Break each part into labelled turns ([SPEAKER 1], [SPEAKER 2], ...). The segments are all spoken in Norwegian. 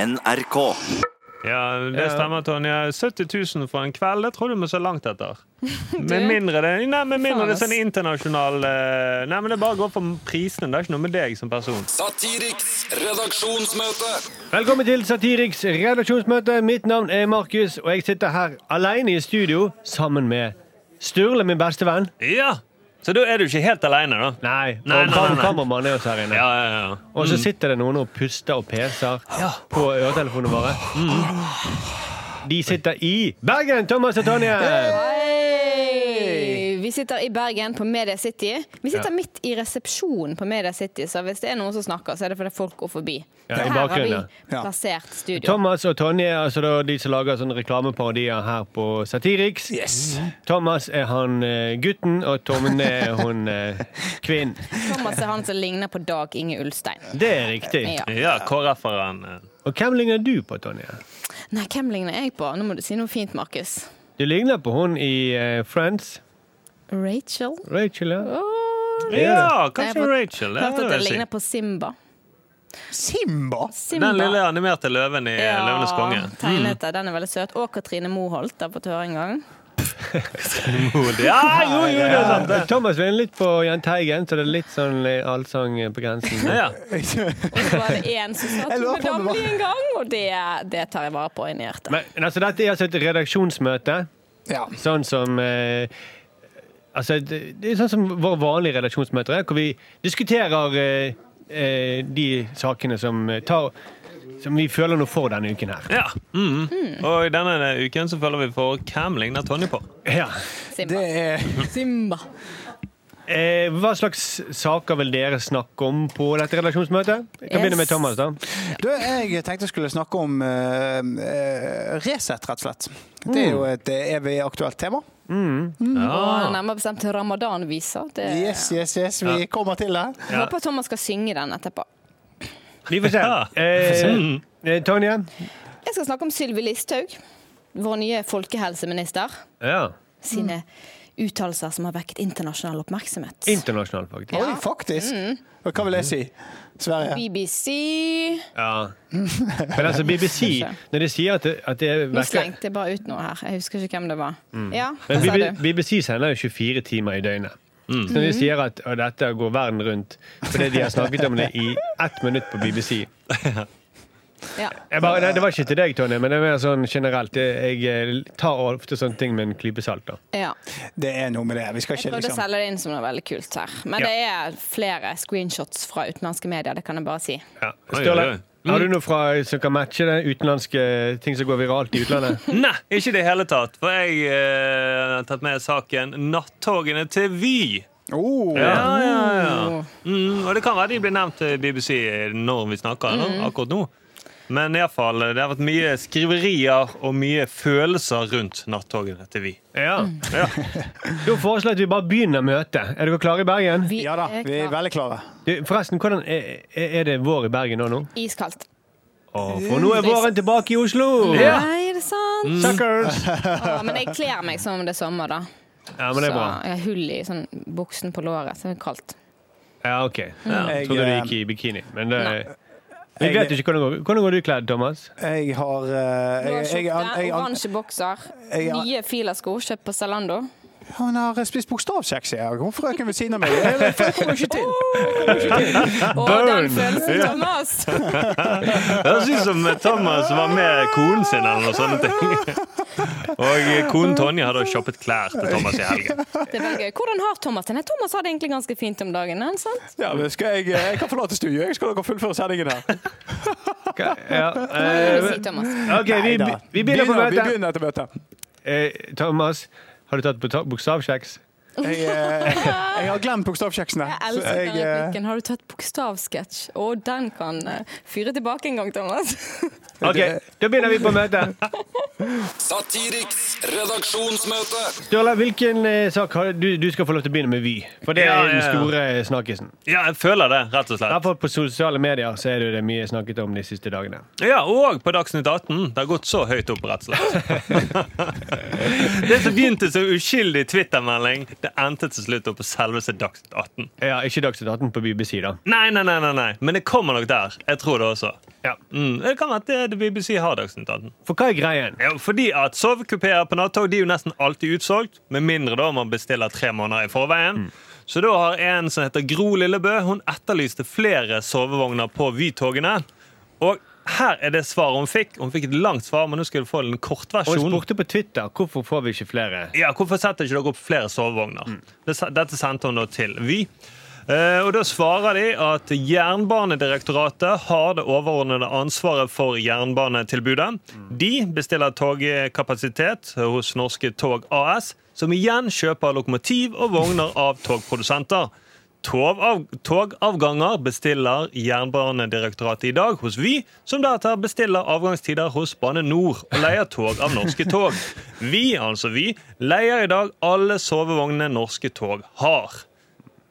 [SPEAKER 1] NRK.
[SPEAKER 2] Ja, det stemmer, Tonje. 70 000 for en kveld, det tror du må se langt etter. Med mindre det Nei, med mindre det er sånn internasjonal eh, Nei, men det er bare å gå for prisene. Det er ikke noe med deg som person.
[SPEAKER 3] Satiriks redaksjonsmøte.
[SPEAKER 4] Velkommen til Satiriks redaksjonsmøte. Mitt navn er Markus, og jeg sitter her alene i studio sammen med Sturle, min beste venn.
[SPEAKER 2] Ja! Så da er du ikke helt aleine, da.
[SPEAKER 4] Nei,
[SPEAKER 2] Nei, nei,
[SPEAKER 4] og
[SPEAKER 2] nei,
[SPEAKER 4] kam
[SPEAKER 2] nei.
[SPEAKER 4] kameramannen er også her inne.
[SPEAKER 2] Ja, ja, ja.
[SPEAKER 4] Og så sitter det noen og puster og peser på øretelefonene våre. De sitter i Bergen, Thomas og Tonje!
[SPEAKER 5] Hei! Vi sitter i Bergen, på Media City. Vi sitter midt i resepsjonen på Media City, så hvis det er noen som snakker, så er det fordi folk går forbi.
[SPEAKER 4] Ja,
[SPEAKER 5] Så
[SPEAKER 4] i
[SPEAKER 5] her har vi
[SPEAKER 4] bakgrunnen,
[SPEAKER 1] ja.
[SPEAKER 5] plassert studio.
[SPEAKER 4] Thomas og Tonje er altså da de som lager sånne reklameparodier her på Satiriks.
[SPEAKER 1] Yes.
[SPEAKER 4] Thomas er han eh, gutten, og Tommen er hun eh, kvinnen.
[SPEAKER 5] Thomas er han som ligner på Dag Inge Ulstein.
[SPEAKER 4] Det er riktig.
[SPEAKER 5] Ja.
[SPEAKER 2] Ja, KrF-eren. eh.
[SPEAKER 4] Og hvem ligner du på, Tonje?
[SPEAKER 5] Nei, hvem ligner jeg på? Nå må du si noe fint, Markus.
[SPEAKER 4] Du ligner på hun i eh, Friends.
[SPEAKER 5] Rachel?
[SPEAKER 4] Rachel, ja.
[SPEAKER 5] Åh,
[SPEAKER 2] Ja,
[SPEAKER 5] Nei, jeg
[SPEAKER 2] kanskje
[SPEAKER 5] har
[SPEAKER 2] Rachel. Det
[SPEAKER 5] Hørte
[SPEAKER 2] vil
[SPEAKER 5] at jeg
[SPEAKER 2] jeg si.
[SPEAKER 5] ligner på Simba.
[SPEAKER 1] Simba!
[SPEAKER 5] Simba.
[SPEAKER 2] Den lille animerte løven i eh, Løvenes konge.
[SPEAKER 5] tegnete. Den er veldig søt. Og Katrine Moholt har jeg fått høre en gang.
[SPEAKER 2] Ja, jo, jo, det er sant, det.
[SPEAKER 4] Thomas ligner litt på Jahn Teigen, så det er litt sånn eh, allsang på grensen.
[SPEAKER 2] Ja.
[SPEAKER 5] Og så var det én som sa at
[SPEAKER 1] Jeg
[SPEAKER 5] hun
[SPEAKER 1] lurer
[SPEAKER 5] var
[SPEAKER 1] på om det var-
[SPEAKER 5] damlig en gang, og det, det tar jeg vare på inni hjertet.
[SPEAKER 4] Men men altså, dette er altså et redaksjonsmøte,
[SPEAKER 1] Ja.
[SPEAKER 4] sånn som eh, Altså, det det er sånn som våre vanlige redaksjonsmøter er, hvor vi diskuterer eh, eh, de sakene som eh, tar som vi føler noe for denne uken her.
[SPEAKER 2] ja. Mm. Og i denne uken så følger vi for hvem ligner Tonje på.
[SPEAKER 4] Ja.
[SPEAKER 1] Det
[SPEAKER 5] Simba.
[SPEAKER 1] er
[SPEAKER 5] Simba.
[SPEAKER 4] Eh, hva slags saker vil dere snakke om på dette redaksjonsmøtet? Jeg kan
[SPEAKER 5] Yes.
[SPEAKER 4] begynne med Thomas, da.
[SPEAKER 1] Du, jeg tenkte jeg skulle snakke om eh, eh, Resett, rett og slett. Det er jo
[SPEAKER 5] Mm.
[SPEAKER 1] et eh, evig aktuelt tema.
[SPEAKER 5] Og
[SPEAKER 2] Ja.
[SPEAKER 5] nærmere bestemt ramadan-viser. Det...
[SPEAKER 1] Yes, yes, yes, vi kommer til det.
[SPEAKER 5] Jeg håper Thomas skal synge den etterpå.
[SPEAKER 4] Vi får se.
[SPEAKER 2] Ja.
[SPEAKER 4] Eh, eh, Tonje?
[SPEAKER 5] Jeg skal snakke om Sylvi Listhaug, vår nye folkehelseminister.
[SPEAKER 4] Ja.
[SPEAKER 5] Sine uttalelser som har vekket internasjonal oppmerksomhet.
[SPEAKER 4] Internasjonal, faktisk.
[SPEAKER 1] Oi, faktisk!
[SPEAKER 5] Mm.
[SPEAKER 1] Og Hva vil jeg si? Sverige?
[SPEAKER 5] BBC
[SPEAKER 4] Ja. Men altså, BBC, når de sier at det, at det
[SPEAKER 5] Nå
[SPEAKER 4] vekker
[SPEAKER 5] slengte jeg bare ut noe her. Jeg husker ikke hvem det var. Ja, hva
[SPEAKER 4] Mm.
[SPEAKER 5] sa
[SPEAKER 4] Men BB-
[SPEAKER 5] du? Mm.
[SPEAKER 4] BBC sender jo 24 timer i døgnet. Så når de sier at «Å, dette går verden rundt fordi de har snakket om det i ett minutt på BBC
[SPEAKER 5] Ja.
[SPEAKER 4] jeg bare, nei, Det var ikke til deg, Tonje, men det er mer sånn generelt. Jeg, jeg tar ofte sånne ting med en klype salt. da.
[SPEAKER 5] ja.
[SPEAKER 1] Det er noe med det. Vi skal
[SPEAKER 5] Jeg
[SPEAKER 1] ikke
[SPEAKER 5] prøvde å
[SPEAKER 1] liksom
[SPEAKER 5] selge det inn som noe veldig kult her. Men
[SPEAKER 4] Ja.
[SPEAKER 5] det er flere screenshots fra utenlandske medier, det kan jeg bare si.
[SPEAKER 2] Oi,
[SPEAKER 4] Ja.
[SPEAKER 2] oi, Mm.
[SPEAKER 4] Sturle,
[SPEAKER 2] oi.
[SPEAKER 4] har du noe fra, som kan matche det? Utenlandske ting som går viralt i utlandet?
[SPEAKER 2] Nei, ikke i det hele tatt. For jeg eh, har tatt med saken 'Nattogene til Vy'.
[SPEAKER 1] oh,
[SPEAKER 2] Ja, ja, ja. Mm, og det kan være de blir nevnt eh, i BBC når vi snakker nå, akkurat nå. Men i alle fall, eh, det har vært mye skriverier og mye følelser rundt nattogene til Vy.
[SPEAKER 4] Ja.
[SPEAKER 5] Mm.
[SPEAKER 4] ja. Da foreslår jeg at vi bare begynner møtet. Er dere klare i Bergen?
[SPEAKER 5] Vi
[SPEAKER 1] Ja da,
[SPEAKER 5] er
[SPEAKER 1] vi er
[SPEAKER 5] klar.
[SPEAKER 1] veldig klare.
[SPEAKER 4] Du, forresten, hvordan er, er det vår i Bergen nå? nå?
[SPEAKER 5] Iskaldt.
[SPEAKER 4] Å,
[SPEAKER 5] Mm.
[SPEAKER 4] for nå er våren tilbake i Oslo!
[SPEAKER 5] Nei, er det sant?
[SPEAKER 1] Mm.
[SPEAKER 4] Suckers!
[SPEAKER 5] Å, men jeg kler meg som om det er sommer, da.
[SPEAKER 4] Ja, men det er bra.
[SPEAKER 5] Så jeg har hull i sånn, buksen på låret, så det er kaldt.
[SPEAKER 4] Ja, ok.
[SPEAKER 5] Mm.
[SPEAKER 4] Jeg eh, trodde du gikk i bikini, men det Vi
[SPEAKER 1] Jeg-
[SPEAKER 4] vet jo ikke hvordan det går. Hvordan går du kledd, Thomas?
[SPEAKER 1] Jeg har
[SPEAKER 5] Blå
[SPEAKER 1] eh, jeg, jeg,
[SPEAKER 5] skjorte,
[SPEAKER 1] jeg, jeg,
[SPEAKER 5] oransje bokser,
[SPEAKER 1] jeg-
[SPEAKER 5] nye filasko kjøpt på Zalando.
[SPEAKER 1] Han har spist bokstavsex i dag. Hun frøken ved siden av meg. Jeg jeg kommer ikke til.
[SPEAKER 5] Og den følelsen, Thomas!
[SPEAKER 2] Det høres ut som eh, Thomas var med konen sin eller noe sånne ting. Og eh, konen Tonje hadde shoppet klær til Thomas i helgen.
[SPEAKER 5] Det er veldig gøy. Hvordan har Thomas det? Nei, Thomas har det egentlig ganske fint om dagen. er han sant?
[SPEAKER 1] Ja, men skal jeg, jeg kan forlate studio. Jeg skal dere fullføre sendingen her.
[SPEAKER 4] Ja,
[SPEAKER 5] Hva
[SPEAKER 4] eh,
[SPEAKER 5] vil du si, Thomas?
[SPEAKER 4] OK, vi,
[SPEAKER 1] Neida.
[SPEAKER 4] vi begynner på
[SPEAKER 1] vi
[SPEAKER 4] møtet.
[SPEAKER 1] begynner etter møtet.
[SPEAKER 4] Eh, Thomas, har du tatt bokta- bokstavkjeks?
[SPEAKER 1] Jeg, eh, jeg har glemt bokstavkjeksene.
[SPEAKER 5] Jeg
[SPEAKER 1] så
[SPEAKER 5] elsker den
[SPEAKER 1] jeg, eh,
[SPEAKER 5] replikken. Har du tatt bokstavsketsj? Å, den kan eh, fyre tilbake en gang, Thomas.
[SPEAKER 4] OK, da begynner vi på møtet.
[SPEAKER 3] Satiriks Redaksjonsmøte.
[SPEAKER 4] Sturle, hvilken eh, sak har du, du skal få lov til å begynne med Vy? For det
[SPEAKER 2] Ja,
[SPEAKER 4] er den
[SPEAKER 2] ja, ja.
[SPEAKER 4] store snakkisen.
[SPEAKER 2] Ja, jeg føler det, rett og
[SPEAKER 4] I hvert
[SPEAKER 2] slett.
[SPEAKER 4] fall på sosiale medier så er det jo det mye snakket om de siste dagene.
[SPEAKER 2] Ja, Og på Dagsnytt 18. Det har gått så høyt opp, rett og slett. det som begynte som uskyldig Twitter-melding, det endte til slutt opp på selveste Dagsnytt 18.
[SPEAKER 4] Ja, Ikke Dagsnytt 18 på BBC, da.
[SPEAKER 2] Nei, nei, nei, nei, nei, men det kommer nok der. Jeg tror det også.
[SPEAKER 4] Ja.
[SPEAKER 2] Mm, det kan være at det- det BBC har Dagsnytt 18.
[SPEAKER 4] For hva er greien?
[SPEAKER 2] Jo, fordi at Sovekupeer på nattog de er jo nesten alltid utsolgt, med mindre da man bestiller tre måneder i forveien.
[SPEAKER 4] Mm.
[SPEAKER 2] Så da har en som heter Gro Lillebø, hun etterlyste flere sovevogner på Vy-togene. Og her er det svaret hun fikk. Hun fikk et langt svar, men nå skal du få en
[SPEAKER 4] Og jeg
[SPEAKER 2] kortversjon.
[SPEAKER 4] spurte på Twitter hvorfor får vi ikke flere.
[SPEAKER 2] Ja, hvorfor setter ikke dere opp flere sovevogner? Det se- Dette sendte hun da til Vy. Eh, og da svarer de at Jernbanedirektoratet har det overordnede ansvaret for jernbanetilbudet. De bestiller togkapasitet hos Norske Tog AS, som igjen kjøper lokomotiv og vogner av togprodusenter. Togav, togavganger bestiller Jernbanedirektoratet i dag hos Vy, som deretter bestiller avgangstider hos Bane Nor og leier tog av Norske Tog. Vi, altså Vy, leier i dag alle sovevognene Norske Tog har.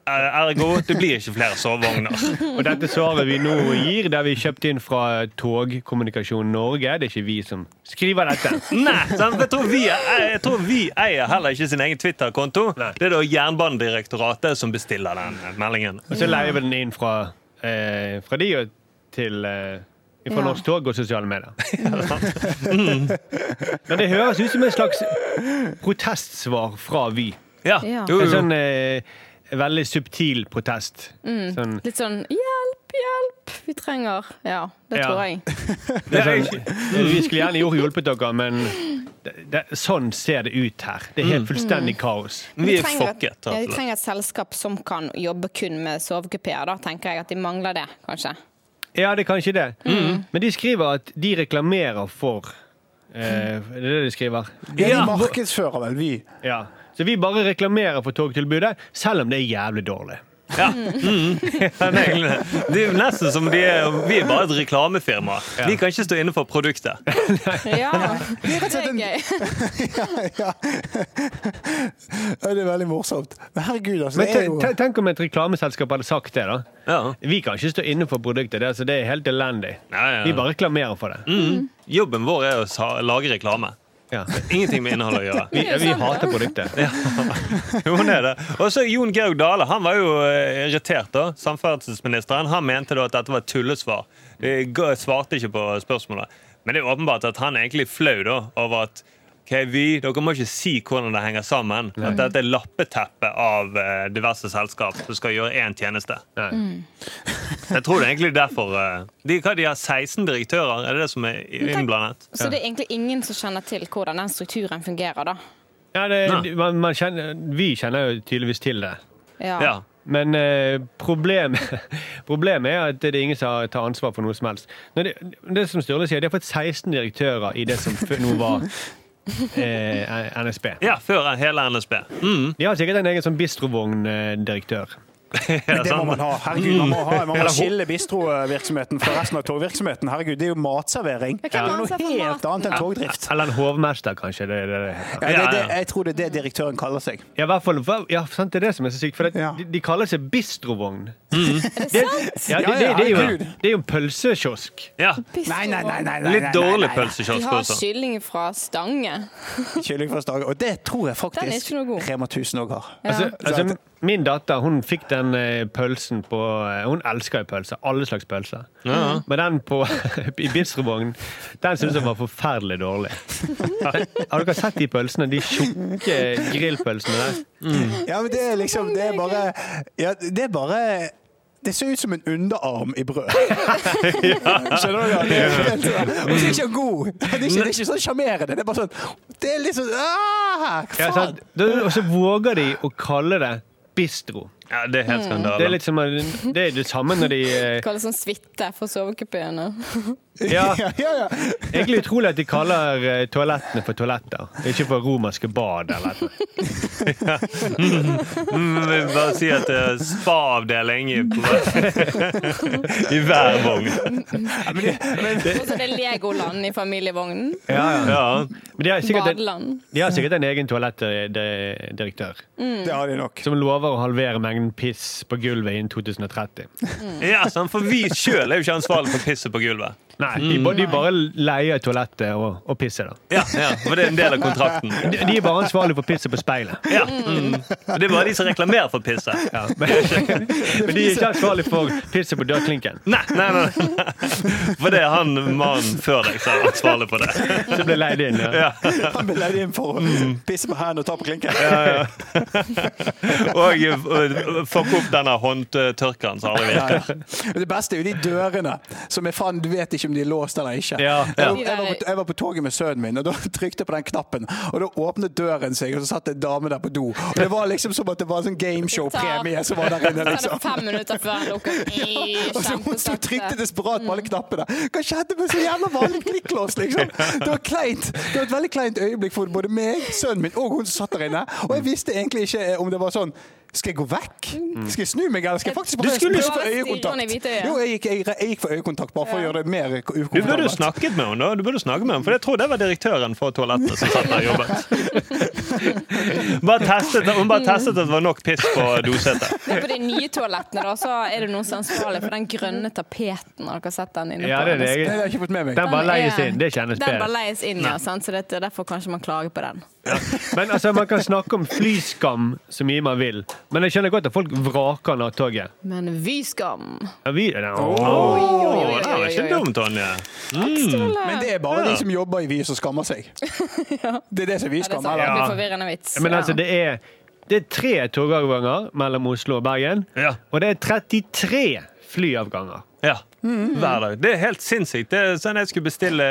[SPEAKER 2] Er- Ergo, det blir ikke flere sovevogner.
[SPEAKER 4] Og dette svaret vi nå gir, der vi kjøpte inn fra Togkommunikasjon Norge, det er ikke vi som skriver dette.
[SPEAKER 2] Nei, sant? jeg, tror Vy er- eh, jeg tror Vy eier heller ikke sin egen Twitter-konto. Det er da Jernbanedirektoratet som bestiller den meldingen.
[SPEAKER 4] Og så leier vi den inn fra, eh, fra de og til eh, fra
[SPEAKER 5] Ja.
[SPEAKER 4] Norsk Tog og sosiale medier. Mm. Men det høres ut som et slags protestsvar fra Vy.
[SPEAKER 2] Ja,
[SPEAKER 5] Ja.
[SPEAKER 2] jo,
[SPEAKER 4] En
[SPEAKER 2] jo.
[SPEAKER 4] sånn eh, veldig subtil protest. Sånn,
[SPEAKER 5] Litt sånn 'hjelp, hjelp, vi trenger' Ja, det
[SPEAKER 4] Ja.
[SPEAKER 5] tror jeg.
[SPEAKER 4] det er sånn vi skulle gjerne gjort hjulpet dere, men det, det, sånn ser det ut her. Det er
[SPEAKER 2] Mm.
[SPEAKER 4] helt fullstendig kaos.
[SPEAKER 2] Vi er
[SPEAKER 5] trenger et-
[SPEAKER 2] fucket.
[SPEAKER 5] Ja,
[SPEAKER 2] rett
[SPEAKER 5] de
[SPEAKER 2] og slett.
[SPEAKER 5] trenger et selskap som kan jobbe kun med sovekupeer, da tenker jeg at de mangler det, kanskje.
[SPEAKER 4] Ja, det er kanskje det.
[SPEAKER 2] Mm.
[SPEAKER 4] Men de skriver at de reklamerer for eh,
[SPEAKER 2] Mm.
[SPEAKER 4] Det er det de skriver.
[SPEAKER 1] De
[SPEAKER 2] Ja.
[SPEAKER 1] markedsfører vel Vy.
[SPEAKER 4] Ja. Så vi bare reklamerer for togtilbudet, selv om det er jævlig dårlig.
[SPEAKER 2] Ja. Mm. Ja, det er egentlig det. Det er jo nesten som de er, vi er bare et reklamefirma. Vi kan ikke stå inne for produktet.
[SPEAKER 5] Ja, det
[SPEAKER 1] slett
[SPEAKER 5] er
[SPEAKER 1] en-
[SPEAKER 5] gøy.
[SPEAKER 1] ja. Det er veldig morsomt. Men herregud, altså.
[SPEAKER 4] Men
[SPEAKER 1] Det er
[SPEAKER 4] te-
[SPEAKER 1] jo
[SPEAKER 4] te- tenk om et reklameselskap hadde sagt det, da.
[SPEAKER 2] Ja.
[SPEAKER 4] Vi kan ikke stå inne for produktet. Det, er- altså, det er helt elendig.
[SPEAKER 2] Ja, ja.
[SPEAKER 4] Vi bare reklamerer for det.
[SPEAKER 2] Mm. Jobben vår er å sa- lage reklame.
[SPEAKER 4] Ja.
[SPEAKER 2] Ingenting med innhold å gjøre.
[SPEAKER 4] Vi, vi hater produktet.
[SPEAKER 2] Jo, det er det. Og så Jon Georg Dale han var jo eh, irritert. da, Samferdselsministeren han mente da at dette var et tullesvar. De ga- svarte ikke på spørsmålet. Men det er åpenbart at han er egentlig flau da, over at ok, vi, dere må ikke si hvordan det henger sammen. At dette er lappeteppet av eh, diverse selskap som skal gjøre én tjeneste.
[SPEAKER 4] Nei.
[SPEAKER 5] Mm.
[SPEAKER 2] Jeg tror det er egentlig derfor eh, de, hva, de har 16 direktører, er det det som er innblandet?
[SPEAKER 5] Så det er egentlig ingen som kjenner til hvordan den strukturen fungerer, da.
[SPEAKER 4] Ja, det,
[SPEAKER 2] Nei.
[SPEAKER 4] man, man kjenner, vi kjenner jo tydeligvis til det.
[SPEAKER 5] Ja.
[SPEAKER 2] Ja.
[SPEAKER 4] Men eh, problemet, problemet er at det er ingen som har- tar ansvar for noe som helst. Når det, det som Sturle sier, De har fått 16 direktører i det som før nå var eh, NSB.
[SPEAKER 2] ja, før hele NSB. Mm,
[SPEAKER 4] De har sikkert en egen sånn bistrovogndirektør.
[SPEAKER 2] ja, sånn.
[SPEAKER 1] Det må
[SPEAKER 2] sant?
[SPEAKER 1] man ha. Herregud, man må, ha. Man må skille bistrovirksomheten fra resten av togvirksomheten. Herregud, det er jo matservering. Det er
[SPEAKER 5] hvem
[SPEAKER 1] jo
[SPEAKER 5] anser
[SPEAKER 1] noe
[SPEAKER 5] for
[SPEAKER 1] helt
[SPEAKER 5] maten?
[SPEAKER 1] annet enn togdrift.
[SPEAKER 4] Eller en hovmester, kanskje. Det, det, det.
[SPEAKER 1] Ja, det, er
[SPEAKER 2] Ja,
[SPEAKER 1] det,
[SPEAKER 2] ja.
[SPEAKER 1] jeg tror det er det direktøren kaller seg.
[SPEAKER 4] Ja, i hvert fall, ja, sant, det er det som er så sykt. For det,
[SPEAKER 1] Ja. Mhm.
[SPEAKER 4] de, de kaller seg bistrovogn.
[SPEAKER 5] Er det sant?
[SPEAKER 4] Ja, det,
[SPEAKER 1] Ja,
[SPEAKER 4] det,
[SPEAKER 1] ja,
[SPEAKER 4] det, er jo,
[SPEAKER 1] herregud.
[SPEAKER 4] det er jo en pølsekiosk.
[SPEAKER 2] Ja.
[SPEAKER 1] Nei, nei, nei. nei, nei,
[SPEAKER 2] Litt
[SPEAKER 1] nei,
[SPEAKER 2] dårlig
[SPEAKER 1] nei, nei.
[SPEAKER 5] De
[SPEAKER 2] pølsekiosk
[SPEAKER 5] har
[SPEAKER 2] også.
[SPEAKER 5] kylling fra Stange.
[SPEAKER 1] Kylling fra Stavanger. Og det tror jeg
[SPEAKER 5] Den er
[SPEAKER 1] faktisk
[SPEAKER 5] ikke noe god.
[SPEAKER 1] Rema 1000 òg har.
[SPEAKER 5] Ja.
[SPEAKER 4] Altså, altså,
[SPEAKER 1] Sant.
[SPEAKER 4] min datter hun fikk den eh, pølsen på eh, Hun elsker jo pølser. Alle slags pølser. Men den på, i bistrovognen, den syntes jeg var forferdelig dårlig. Har dere sett de pølsene? De tjukke grillpølsene der?
[SPEAKER 1] Ja, men det er liksom Det er bare Ja, det er bare det ser ut som en underarm i brød. Skjønner du? hva? Det er helt sånn- Og det er ikke god. Det er ikke, det er ikke sånn sjarmerende. Det er bare sånn Det er litt sånn ah, Hva
[SPEAKER 4] Ja,
[SPEAKER 1] faen?
[SPEAKER 4] sant? Da- Og så våger de å kalle det bistro.
[SPEAKER 2] Ja, det er helt skandale.
[SPEAKER 4] Det er litt som Det er det samme når de eh,
[SPEAKER 5] Kaller det sånn suite for sovekupeen. og-
[SPEAKER 4] Ja.
[SPEAKER 1] ja, ja.
[SPEAKER 4] Egentlig utrolig at de kaller eh, toalettene for toaletter. Ikke for romerske bad eller noe.
[SPEAKER 2] Mm, vi vil bare si at det er spa-avdeling i, i hver vogn.
[SPEAKER 5] Og så er det Legoland i familievognen.
[SPEAKER 4] Ja, ja.
[SPEAKER 2] Ja.
[SPEAKER 4] Men de har sikkert en,
[SPEAKER 5] Badeland. Mm.
[SPEAKER 4] de har sikkert en egen eh, toalettdirektør
[SPEAKER 1] Det har de nok.
[SPEAKER 4] som lover å halvere mengden piss på gulvet innen 2030.
[SPEAKER 2] ja, sånn, for vi sjøl er jo ikke ansvarlig for pisset på gulvet.
[SPEAKER 4] Nei, de, ba- de bare leier toalettet og, og pisser, da.
[SPEAKER 2] Ja, ja, For det er en del av kontrakten.
[SPEAKER 4] De, de er bare ansvarlig for pisset på speilet.
[SPEAKER 2] Ja, mm. Og Det er bare de som reklamerer for pisset.
[SPEAKER 4] Ja, men, men de er ikke ansvarlig for pisset på dørklinken.
[SPEAKER 2] Nei, nei, nei, nei. For det er han mannen før deg som er ansvarlig for det.
[SPEAKER 4] Så ble leid inn. Ja.
[SPEAKER 1] Han ble leid inn for å
[SPEAKER 4] Mm.
[SPEAKER 1] pisse på hendene og ta på klinken.
[SPEAKER 2] Og eh, fuck opp denne håndtørkeren som aldri
[SPEAKER 1] Ja,
[SPEAKER 2] virker.
[SPEAKER 1] ja. Det beste er jo de dørene som er faen, du vet ikke om de er låst eller ikke.
[SPEAKER 4] Ja, ja.
[SPEAKER 1] Jeg, var, jeg, var på, jeg var på toget med sønnen min, og da trykte jeg på den knappen, og da åpnet døren seg, og så satt det en dame der på do. Og det var liksom som at det var en sånn gameshow-premie som var der inne,
[SPEAKER 5] Så er det
[SPEAKER 1] liksom.
[SPEAKER 5] fem minutter før han lukker. I, Mm.
[SPEAKER 1] Og så hun som trykte desperat på alle knappene. Hva skjedde med så jævla vanlig klikklås, liksom? Det var kleint. Det var et veldig kleint øyeblikk for både meg, sønnen min og hun som satt der inne. Og jeg visste egentlig ikke eh, om det var sånn skal jeg gå vekk? Skal jeg snu meg, eller skal jeg faktisk bare
[SPEAKER 5] Du skulle-
[SPEAKER 1] pisse for
[SPEAKER 5] Mm. Du var stirrende i
[SPEAKER 1] øyekontakt?
[SPEAKER 5] hvite øyne.
[SPEAKER 1] Jo, jeg gikk, jeg, jeg gikk for øyekontakt, bare for å gjøre det mer
[SPEAKER 2] Du burde jo
[SPEAKER 1] ukomfortabelt.
[SPEAKER 2] snakket med henne, da. Du burde snakke med henne, For jeg tror det var direktøren for toalettene som satt der og jobbet. Bare testet, hun bare testet at det var nok piss på dosetet.
[SPEAKER 5] Men på de nye toalettene da, så er det noen som er ansvarlig for den grønne tapeten. Har dere sett den inne på?
[SPEAKER 4] Ja, det er en
[SPEAKER 1] Nei, det har
[SPEAKER 4] egen.
[SPEAKER 1] jeg ikke fått med meg.
[SPEAKER 4] Den bare leies
[SPEAKER 5] er-
[SPEAKER 4] inn. Det kjennes
[SPEAKER 5] Den bare
[SPEAKER 4] bedre.
[SPEAKER 5] leies inn, ja. Sant? Så det, er derfor kanskje man klager på den.
[SPEAKER 4] Men altså, Man kan snakke om flyskam så mye man vil, men jeg skjønner godt at folk vraker nattoget.
[SPEAKER 5] Men vy skam!
[SPEAKER 1] Mm.
[SPEAKER 4] Ja, vi, ja,
[SPEAKER 2] Å,
[SPEAKER 5] oi, oi,
[SPEAKER 2] det var ikke
[SPEAKER 5] oi, oi.
[SPEAKER 2] dumt, Tonje.
[SPEAKER 1] Men det er bare de som jobber i Vy som skammer seg. Det er det som vi
[SPEAKER 5] Er det sånn?
[SPEAKER 1] skammer.
[SPEAKER 5] Det
[SPEAKER 1] eller?
[SPEAKER 5] blir forvirrende vits.
[SPEAKER 4] Men
[SPEAKER 5] Ja.
[SPEAKER 4] altså, det er, det er tre togavganger mellom Oslo og Bergen.
[SPEAKER 2] Ja.
[SPEAKER 4] Og det er 33 flyavganger.
[SPEAKER 2] Ja. Hver dag. Det er helt sinnssykt. Det er sånn jeg skulle bestille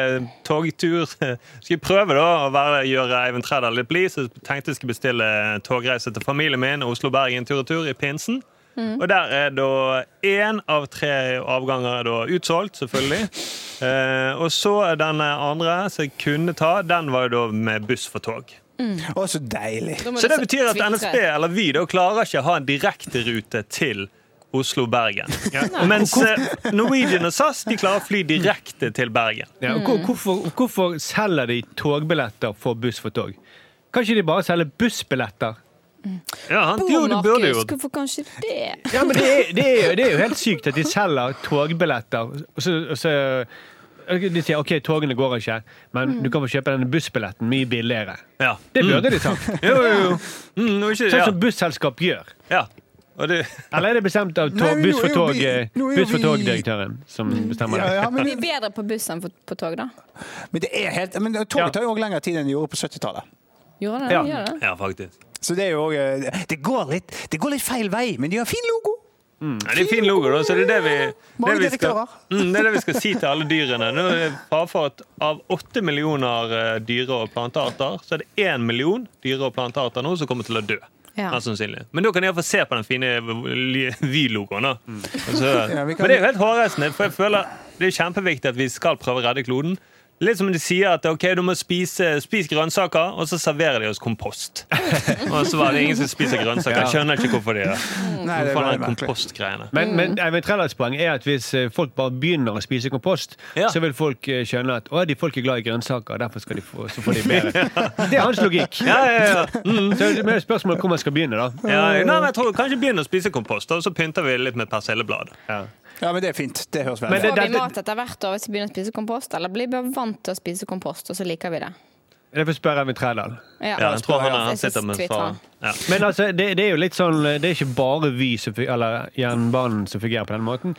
[SPEAKER 2] togtur Skulle prøve da å være, gjøre Eivind Trædal litt blid, så tenkte jeg skulle bestille togreise til familien min Oslo-Bergen tur og tur i pinsen. Og der er da én av tre avganger er da utsolgt, selvfølgelig. Eh, og så er den andre som jeg kunne ta, den var jo da med buss for tog.
[SPEAKER 1] Å, så deilig.
[SPEAKER 5] Da må
[SPEAKER 2] Så
[SPEAKER 5] du
[SPEAKER 2] det betyr at
[SPEAKER 5] tvitre.
[SPEAKER 2] NSB eller Vy da klarer ikke å ha en direkterute til Oslo-Bergen. Mens eh, Norwegian og SAS de klarer å fly direkte til Bergen.
[SPEAKER 4] Ja, og hvor, hvorfor, hvorfor selger de togbilletter for buss for tog? Kan ikke de bare selge bussbilletter?
[SPEAKER 2] Ja, han,
[SPEAKER 5] Bo,
[SPEAKER 2] jo, det burde jo
[SPEAKER 5] Markus, hvorfor kanskje det?
[SPEAKER 4] Ja, men det er, det er, jo- det er jo helt sykt at de selger togbilletter. Og så, og så De sier OK, togene går ikke, men du kan få kjøpe denne bussbilletten mye billigere.
[SPEAKER 2] ja. Mm.
[SPEAKER 4] Det burde de sagt.
[SPEAKER 2] Jo, jo, jo. Mm, og ikke,
[SPEAKER 4] Sånn
[SPEAKER 2] ja.
[SPEAKER 4] som busselskap gjør.
[SPEAKER 2] ja. Og det,
[SPEAKER 4] Eller er det bestemt av
[SPEAKER 1] Nei,
[SPEAKER 4] tog,
[SPEAKER 1] men
[SPEAKER 4] buss
[SPEAKER 1] nå
[SPEAKER 4] for
[SPEAKER 1] er jo
[SPEAKER 4] tog,
[SPEAKER 1] vi-
[SPEAKER 4] eh,
[SPEAKER 1] nå er jo
[SPEAKER 4] buss for
[SPEAKER 1] vi-
[SPEAKER 4] tog-direktøren som bestemmer
[SPEAKER 1] Ja,
[SPEAKER 4] det?
[SPEAKER 1] ja, men,
[SPEAKER 5] Vi er bedre på buss enn på, på tog, da.
[SPEAKER 1] men det er helt Men toget tar jo òg lengre tid enn det gjorde på 70-tallet.
[SPEAKER 5] Gjorde det?
[SPEAKER 4] Ja.
[SPEAKER 5] Gjør det?
[SPEAKER 2] ja, faktisk.
[SPEAKER 1] Så det er jo eh, Det går litt, det går litt feil vei, men de har fin logo.
[SPEAKER 2] Ja, det er en fin logo, da. Så det er det vi, det
[SPEAKER 1] Mange
[SPEAKER 2] vi, skal,
[SPEAKER 1] direktører.
[SPEAKER 2] mm, det er det vi skal si til alle dyrene. Nå er det fare for at av åtte millioner eh, dyre- og plantearter, så er det én million dyre- og plantearter nå som kommer til å dø.
[SPEAKER 5] Ja.
[SPEAKER 2] Mest sannsynlig. Men da kan jeg få se på den fine ly- Vy-logoen. da. Altså,
[SPEAKER 1] Ja, vi kan-
[SPEAKER 2] Men det er jo helt hårreisende, for jeg føler det er kjempeviktig at vi skal prøve å redde kloden. Litt som de sier at ok, du må spise, spise grønnsaker, og så serverer de oss kompost. og så var det ingen som spiser grønnsaker. Jeg skjønner ikke hvorfor de gjør det.
[SPEAKER 1] Nei, det er
[SPEAKER 2] Hvorfor
[SPEAKER 1] veldig
[SPEAKER 2] den
[SPEAKER 1] merkelig.
[SPEAKER 2] kompostgreiene.
[SPEAKER 4] Men, men
[SPEAKER 1] Mm.
[SPEAKER 4] Eivind Trellers poeng er at hvis eh, folk bare begynner å spise kompost,
[SPEAKER 2] Ja.
[SPEAKER 4] så vil folk eh, skjønne at å, de folk er glad i grønnsaker, derfor skal de få, så får de bedre. Det er hans logikk.
[SPEAKER 2] Ja, ja, ja. Mm.
[SPEAKER 4] Så det er spørsmålet hvor man skal begynne, da.
[SPEAKER 2] ja nei, men jeg tror Kanskje begynne å spise kompost, og så pynter vi litt med persilleblad.
[SPEAKER 1] Ja, men det er fint. Det høres
[SPEAKER 4] Men
[SPEAKER 1] veldig
[SPEAKER 4] det-
[SPEAKER 5] Får vi
[SPEAKER 4] dette-
[SPEAKER 5] mat etter hvert år hvis vi begynner å spise kompost, eller blir vi bare vant til å spise kompost, og så liker vi det?
[SPEAKER 4] Derfor spør Eivind Trelldal.
[SPEAKER 5] Ja,
[SPEAKER 2] Ja, jeg tror han,
[SPEAKER 5] Jeg
[SPEAKER 2] han
[SPEAKER 5] synes
[SPEAKER 2] sitter med
[SPEAKER 5] tweet
[SPEAKER 2] fra
[SPEAKER 5] han.
[SPEAKER 2] ja.
[SPEAKER 4] Men altså, det, det er jo litt sånn Det er ikke bare Vy som fu- eller jernbanen som fungerer på den måten.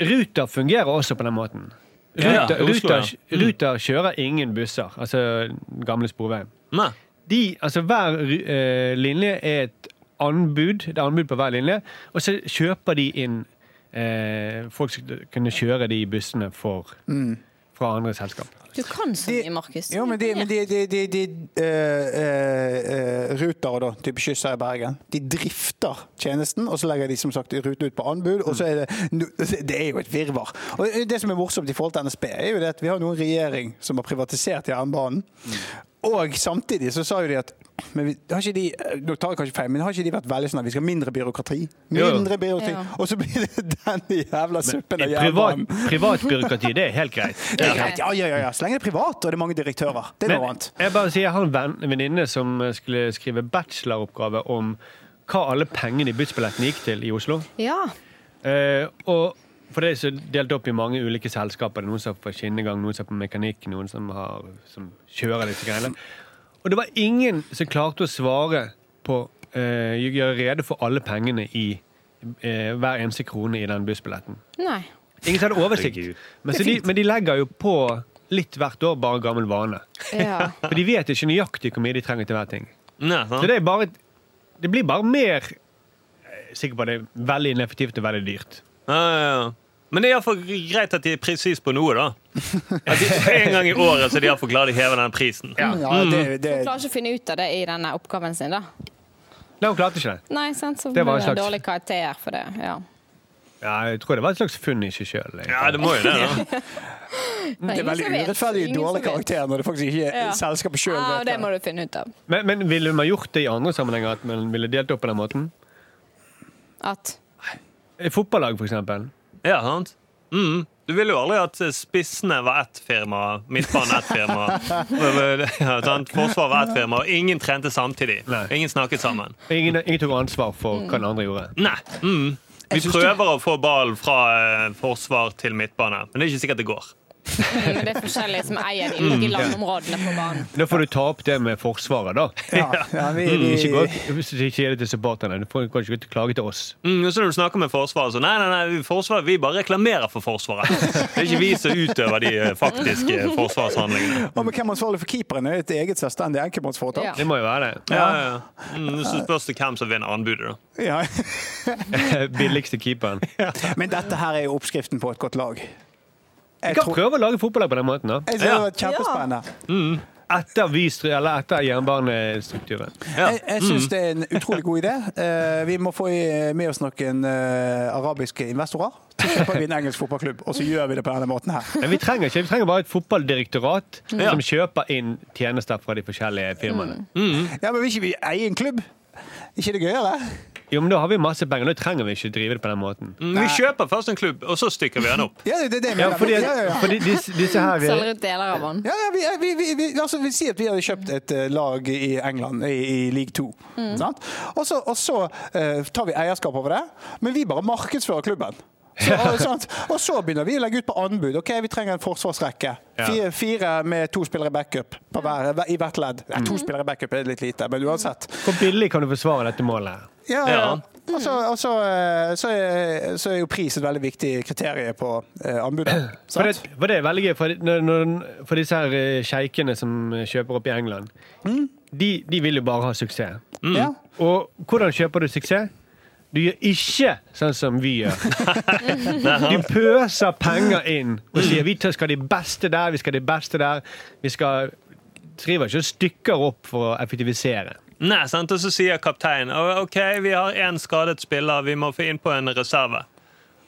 [SPEAKER 4] Ruter fungerer også på den måten.
[SPEAKER 2] Ja, ja,
[SPEAKER 4] Ruter,
[SPEAKER 2] i Oslo, ja. Mm.
[SPEAKER 4] ruter, ruter kjører ingen busser, altså gamle sporveien.
[SPEAKER 2] Nei.
[SPEAKER 4] De, altså hver eh, linje er et anbud, det er anbud på hver linje, og så kjøper de inn eh, folk som kunne kjøre de bussene for, fra andre selskap.
[SPEAKER 5] Du kan så mye, Markus.
[SPEAKER 1] Jo, men de, men de, de, de, de eh, eh, ruter, da, type Kysser i Bergen, de drifter tjenesten, og så legger de som sagt ruten ut på anbud, og så er det Det er jo et virvar. Og det som er morsomt i forhold til NSB, er jo det at vi har nå en regjering som har privatisert jernbanen. Og samtidig så sa jo de at men vi, har ikke de, nå tar jeg kanskje feil, men har ikke de vært veldig sånn at vi skal ha mindre byråkrati?
[SPEAKER 4] Jo, jo.
[SPEAKER 1] Mindre byråkrati.
[SPEAKER 5] Ja.
[SPEAKER 1] Og så blir det den jævla suppen av
[SPEAKER 4] Privat,
[SPEAKER 1] jernbanen.
[SPEAKER 4] privat byråkrati, det er helt greit.
[SPEAKER 1] Det er greit. Ja, ja, ja, ja. Så lenge det er privat og det er mange direktører. Det er noe annet.
[SPEAKER 4] jeg bare sier, jeg har en venn- venninne som skulle skrive bacheloroppgave om hva alle pengene i bussbilletten gikk til i Oslo.
[SPEAKER 5] Ja.
[SPEAKER 4] Eh, og for det er så delt opp i mange ulike selskaper. Det er Noen som er på skinnegang, noen som er på mekanikk, noen som, har, som kjører disse greiene. Og det var ingen som klarte å svare på eh, gjøre rede for alle pengene i eh, hver eneste krone i den bussbilletten.
[SPEAKER 5] Nei.
[SPEAKER 4] Ingen som hadde
[SPEAKER 2] Herregud.
[SPEAKER 4] oversikt. Men, så de, men de legger jo på litt hvert år, bare gammel vane.
[SPEAKER 5] Ja.
[SPEAKER 4] For de vet ikke nøyaktig hvor mye de trenger til hver ting.
[SPEAKER 2] Nei,
[SPEAKER 4] Så
[SPEAKER 2] sant?
[SPEAKER 4] det er bare Det blir bare mer jeg er Sikker på at det er veldig ineffektivt og veldig dyrt.
[SPEAKER 2] Ja, ja, ja. Men det er iallfall greit at de er presis på noe, da. At de, en gang i året så er de iallfall glad de hever den prisen.
[SPEAKER 1] Mm, Ja, det, det,
[SPEAKER 5] Du klarer ikke å finne ut av det i denne oppgaven sin, da.
[SPEAKER 4] Nei, hun klarte ikke det.
[SPEAKER 5] Nei, sant? så
[SPEAKER 4] Det
[SPEAKER 5] blir
[SPEAKER 4] var en
[SPEAKER 5] det
[SPEAKER 4] slags-
[SPEAKER 5] dårlig karakter for det. Ja.
[SPEAKER 1] Mm,
[SPEAKER 4] Ja, jeg tror det var et slags funn i seg sjøl.
[SPEAKER 2] Ja, det må jo det. da.
[SPEAKER 5] Nei,
[SPEAKER 1] det er
[SPEAKER 5] ingen
[SPEAKER 1] veldig
[SPEAKER 5] som vet.
[SPEAKER 1] urettferdig
[SPEAKER 5] Ingen som
[SPEAKER 1] dårlig
[SPEAKER 5] vet.
[SPEAKER 1] karakter når det faktisk ikke er
[SPEAKER 5] Ja.
[SPEAKER 1] selskapet sjøl.
[SPEAKER 5] Ja, det må du finne ut av.
[SPEAKER 4] Men, men ville man gjort det i andre sammenhenger? At man ville delt opp på den måten?
[SPEAKER 5] At
[SPEAKER 4] I fotballag, for eksempel.
[SPEAKER 2] Ja, sant? Mm. Du ville jo aldri at spissene var ett firma, midtbanen ett firma. Ja, sant? Forsvaret var ett firma, og ingen trente samtidig.
[SPEAKER 4] Nei.
[SPEAKER 2] Ingen snakket sammen.
[SPEAKER 4] Ingen, ingen tok ansvar for hva den andre gjorde.
[SPEAKER 2] Nei. Mm. Vi
[SPEAKER 1] syns
[SPEAKER 2] prøver å få ballen fra eh, forsvar til midtbane, men det er ikke sikkert det går.
[SPEAKER 5] mm, det er forskjellige som eier de
[SPEAKER 1] Mm.
[SPEAKER 5] ulike landområdene på banen.
[SPEAKER 4] Da får du ta opp det med Forsvaret, da.
[SPEAKER 1] Ja, ja, vi,
[SPEAKER 4] Mm, Ikke gå
[SPEAKER 1] vi,
[SPEAKER 4] hvis du ikke gir det til supporterne. Du får kan ikke gå ut og klage til oss.
[SPEAKER 2] Mm, og så når du snakker med Forsvaret, så nei, nei, nei, forsvaret, vi bare reklamerer for Forsvaret. Det er ikke vi som utøver de eh, faktiske forsvarshandlingene.
[SPEAKER 1] og med hvem er ansvarlig for keeperen? Er det et eget selvstendig enkeltmannsforetak?
[SPEAKER 5] Ja.
[SPEAKER 4] Det må jo være det.
[SPEAKER 2] Ja, ja, ja. Mm, så spørs det hvem som vinner anbudet, da.
[SPEAKER 1] Ja.
[SPEAKER 4] Billigste keeperen.
[SPEAKER 1] Men dette her er jo oppskriften på et godt lag. Jeg
[SPEAKER 4] Vi kan
[SPEAKER 1] tror-
[SPEAKER 4] prøve å lage fotballag på den måten, da.
[SPEAKER 1] jeg synes det
[SPEAKER 2] Ja.
[SPEAKER 1] var kjempespennende.
[SPEAKER 4] Etter, Vystry- eller etter jernbanestrukturen.
[SPEAKER 2] Ja.
[SPEAKER 1] Jeg, jeg
[SPEAKER 4] Mm.
[SPEAKER 1] syns det er en utrolig god idé. Eh, vi må få i- med oss noen eh, arabiske investorer. Så kjøper vi en engelsk fotballklubb, og så gjør vi det på denne måten her.
[SPEAKER 4] Men vi trenger ikke, vi trenger bare et fotballdirektorat
[SPEAKER 2] Ja.
[SPEAKER 4] som kjøper inn tjenester fra de forskjellige firmaene. Mm.
[SPEAKER 1] Ja, Men vil ikke vi eie en klubb? ikke det gøyere?
[SPEAKER 4] Jo, men Da har vi masse penger, da trenger vi ikke drive det på den måten.
[SPEAKER 2] Mm, vi kjøper først en klubb, og så stykker vi den opp.
[SPEAKER 1] Ja, det er det jeg
[SPEAKER 4] Ja,
[SPEAKER 1] mener.
[SPEAKER 4] fordi,
[SPEAKER 1] ja, ja, ja.
[SPEAKER 4] fordi disse, disse her eh,
[SPEAKER 5] Selger ut deler av den.
[SPEAKER 1] Ja, ja, vi, vi, vi, vi, altså, vi sier at vi hadde kjøpt et eh, lag i England, i, i league 2. Sant? Og så, og så eh, tar vi eierskap over det, men vi bare markedsfører klubben. Så, og, sant? og så begynner vi å legge ut på anbud. Ok, Vi trenger en forsvarsrekke.
[SPEAKER 4] Ja.
[SPEAKER 1] Fire, fire med to spillere backup på hver, i hvert ledd. Ja, to spillere backup er litt lite, men uansett.
[SPEAKER 4] Hvor billig kan du forsvare dette målet?
[SPEAKER 1] Ja,
[SPEAKER 2] Ja.
[SPEAKER 1] ja. Og, så, og så, eh, så, er, så er jo pris et veldig viktig kriterie på eh, anbudet.
[SPEAKER 4] For
[SPEAKER 1] Sant?
[SPEAKER 4] det, for det er veldig gøy, for, når, når, for disse her eh, sjeikene som eh, kjøper opp i England, de, de vil jo bare ha suksess.
[SPEAKER 1] Ja.
[SPEAKER 4] Og hvordan kjøper du suksess? Du gjør ikke sånn som vi gjør. Du pøser penger inn og sier vi tar- skal de beste der, vi skal de beste der. Vi skal driver ikke og stykker opp for å effektivisere.
[SPEAKER 2] Nei, sant? Og så sier kapteinen «Å, OK, vi har én skadet spiller, vi må få inn på en reserve.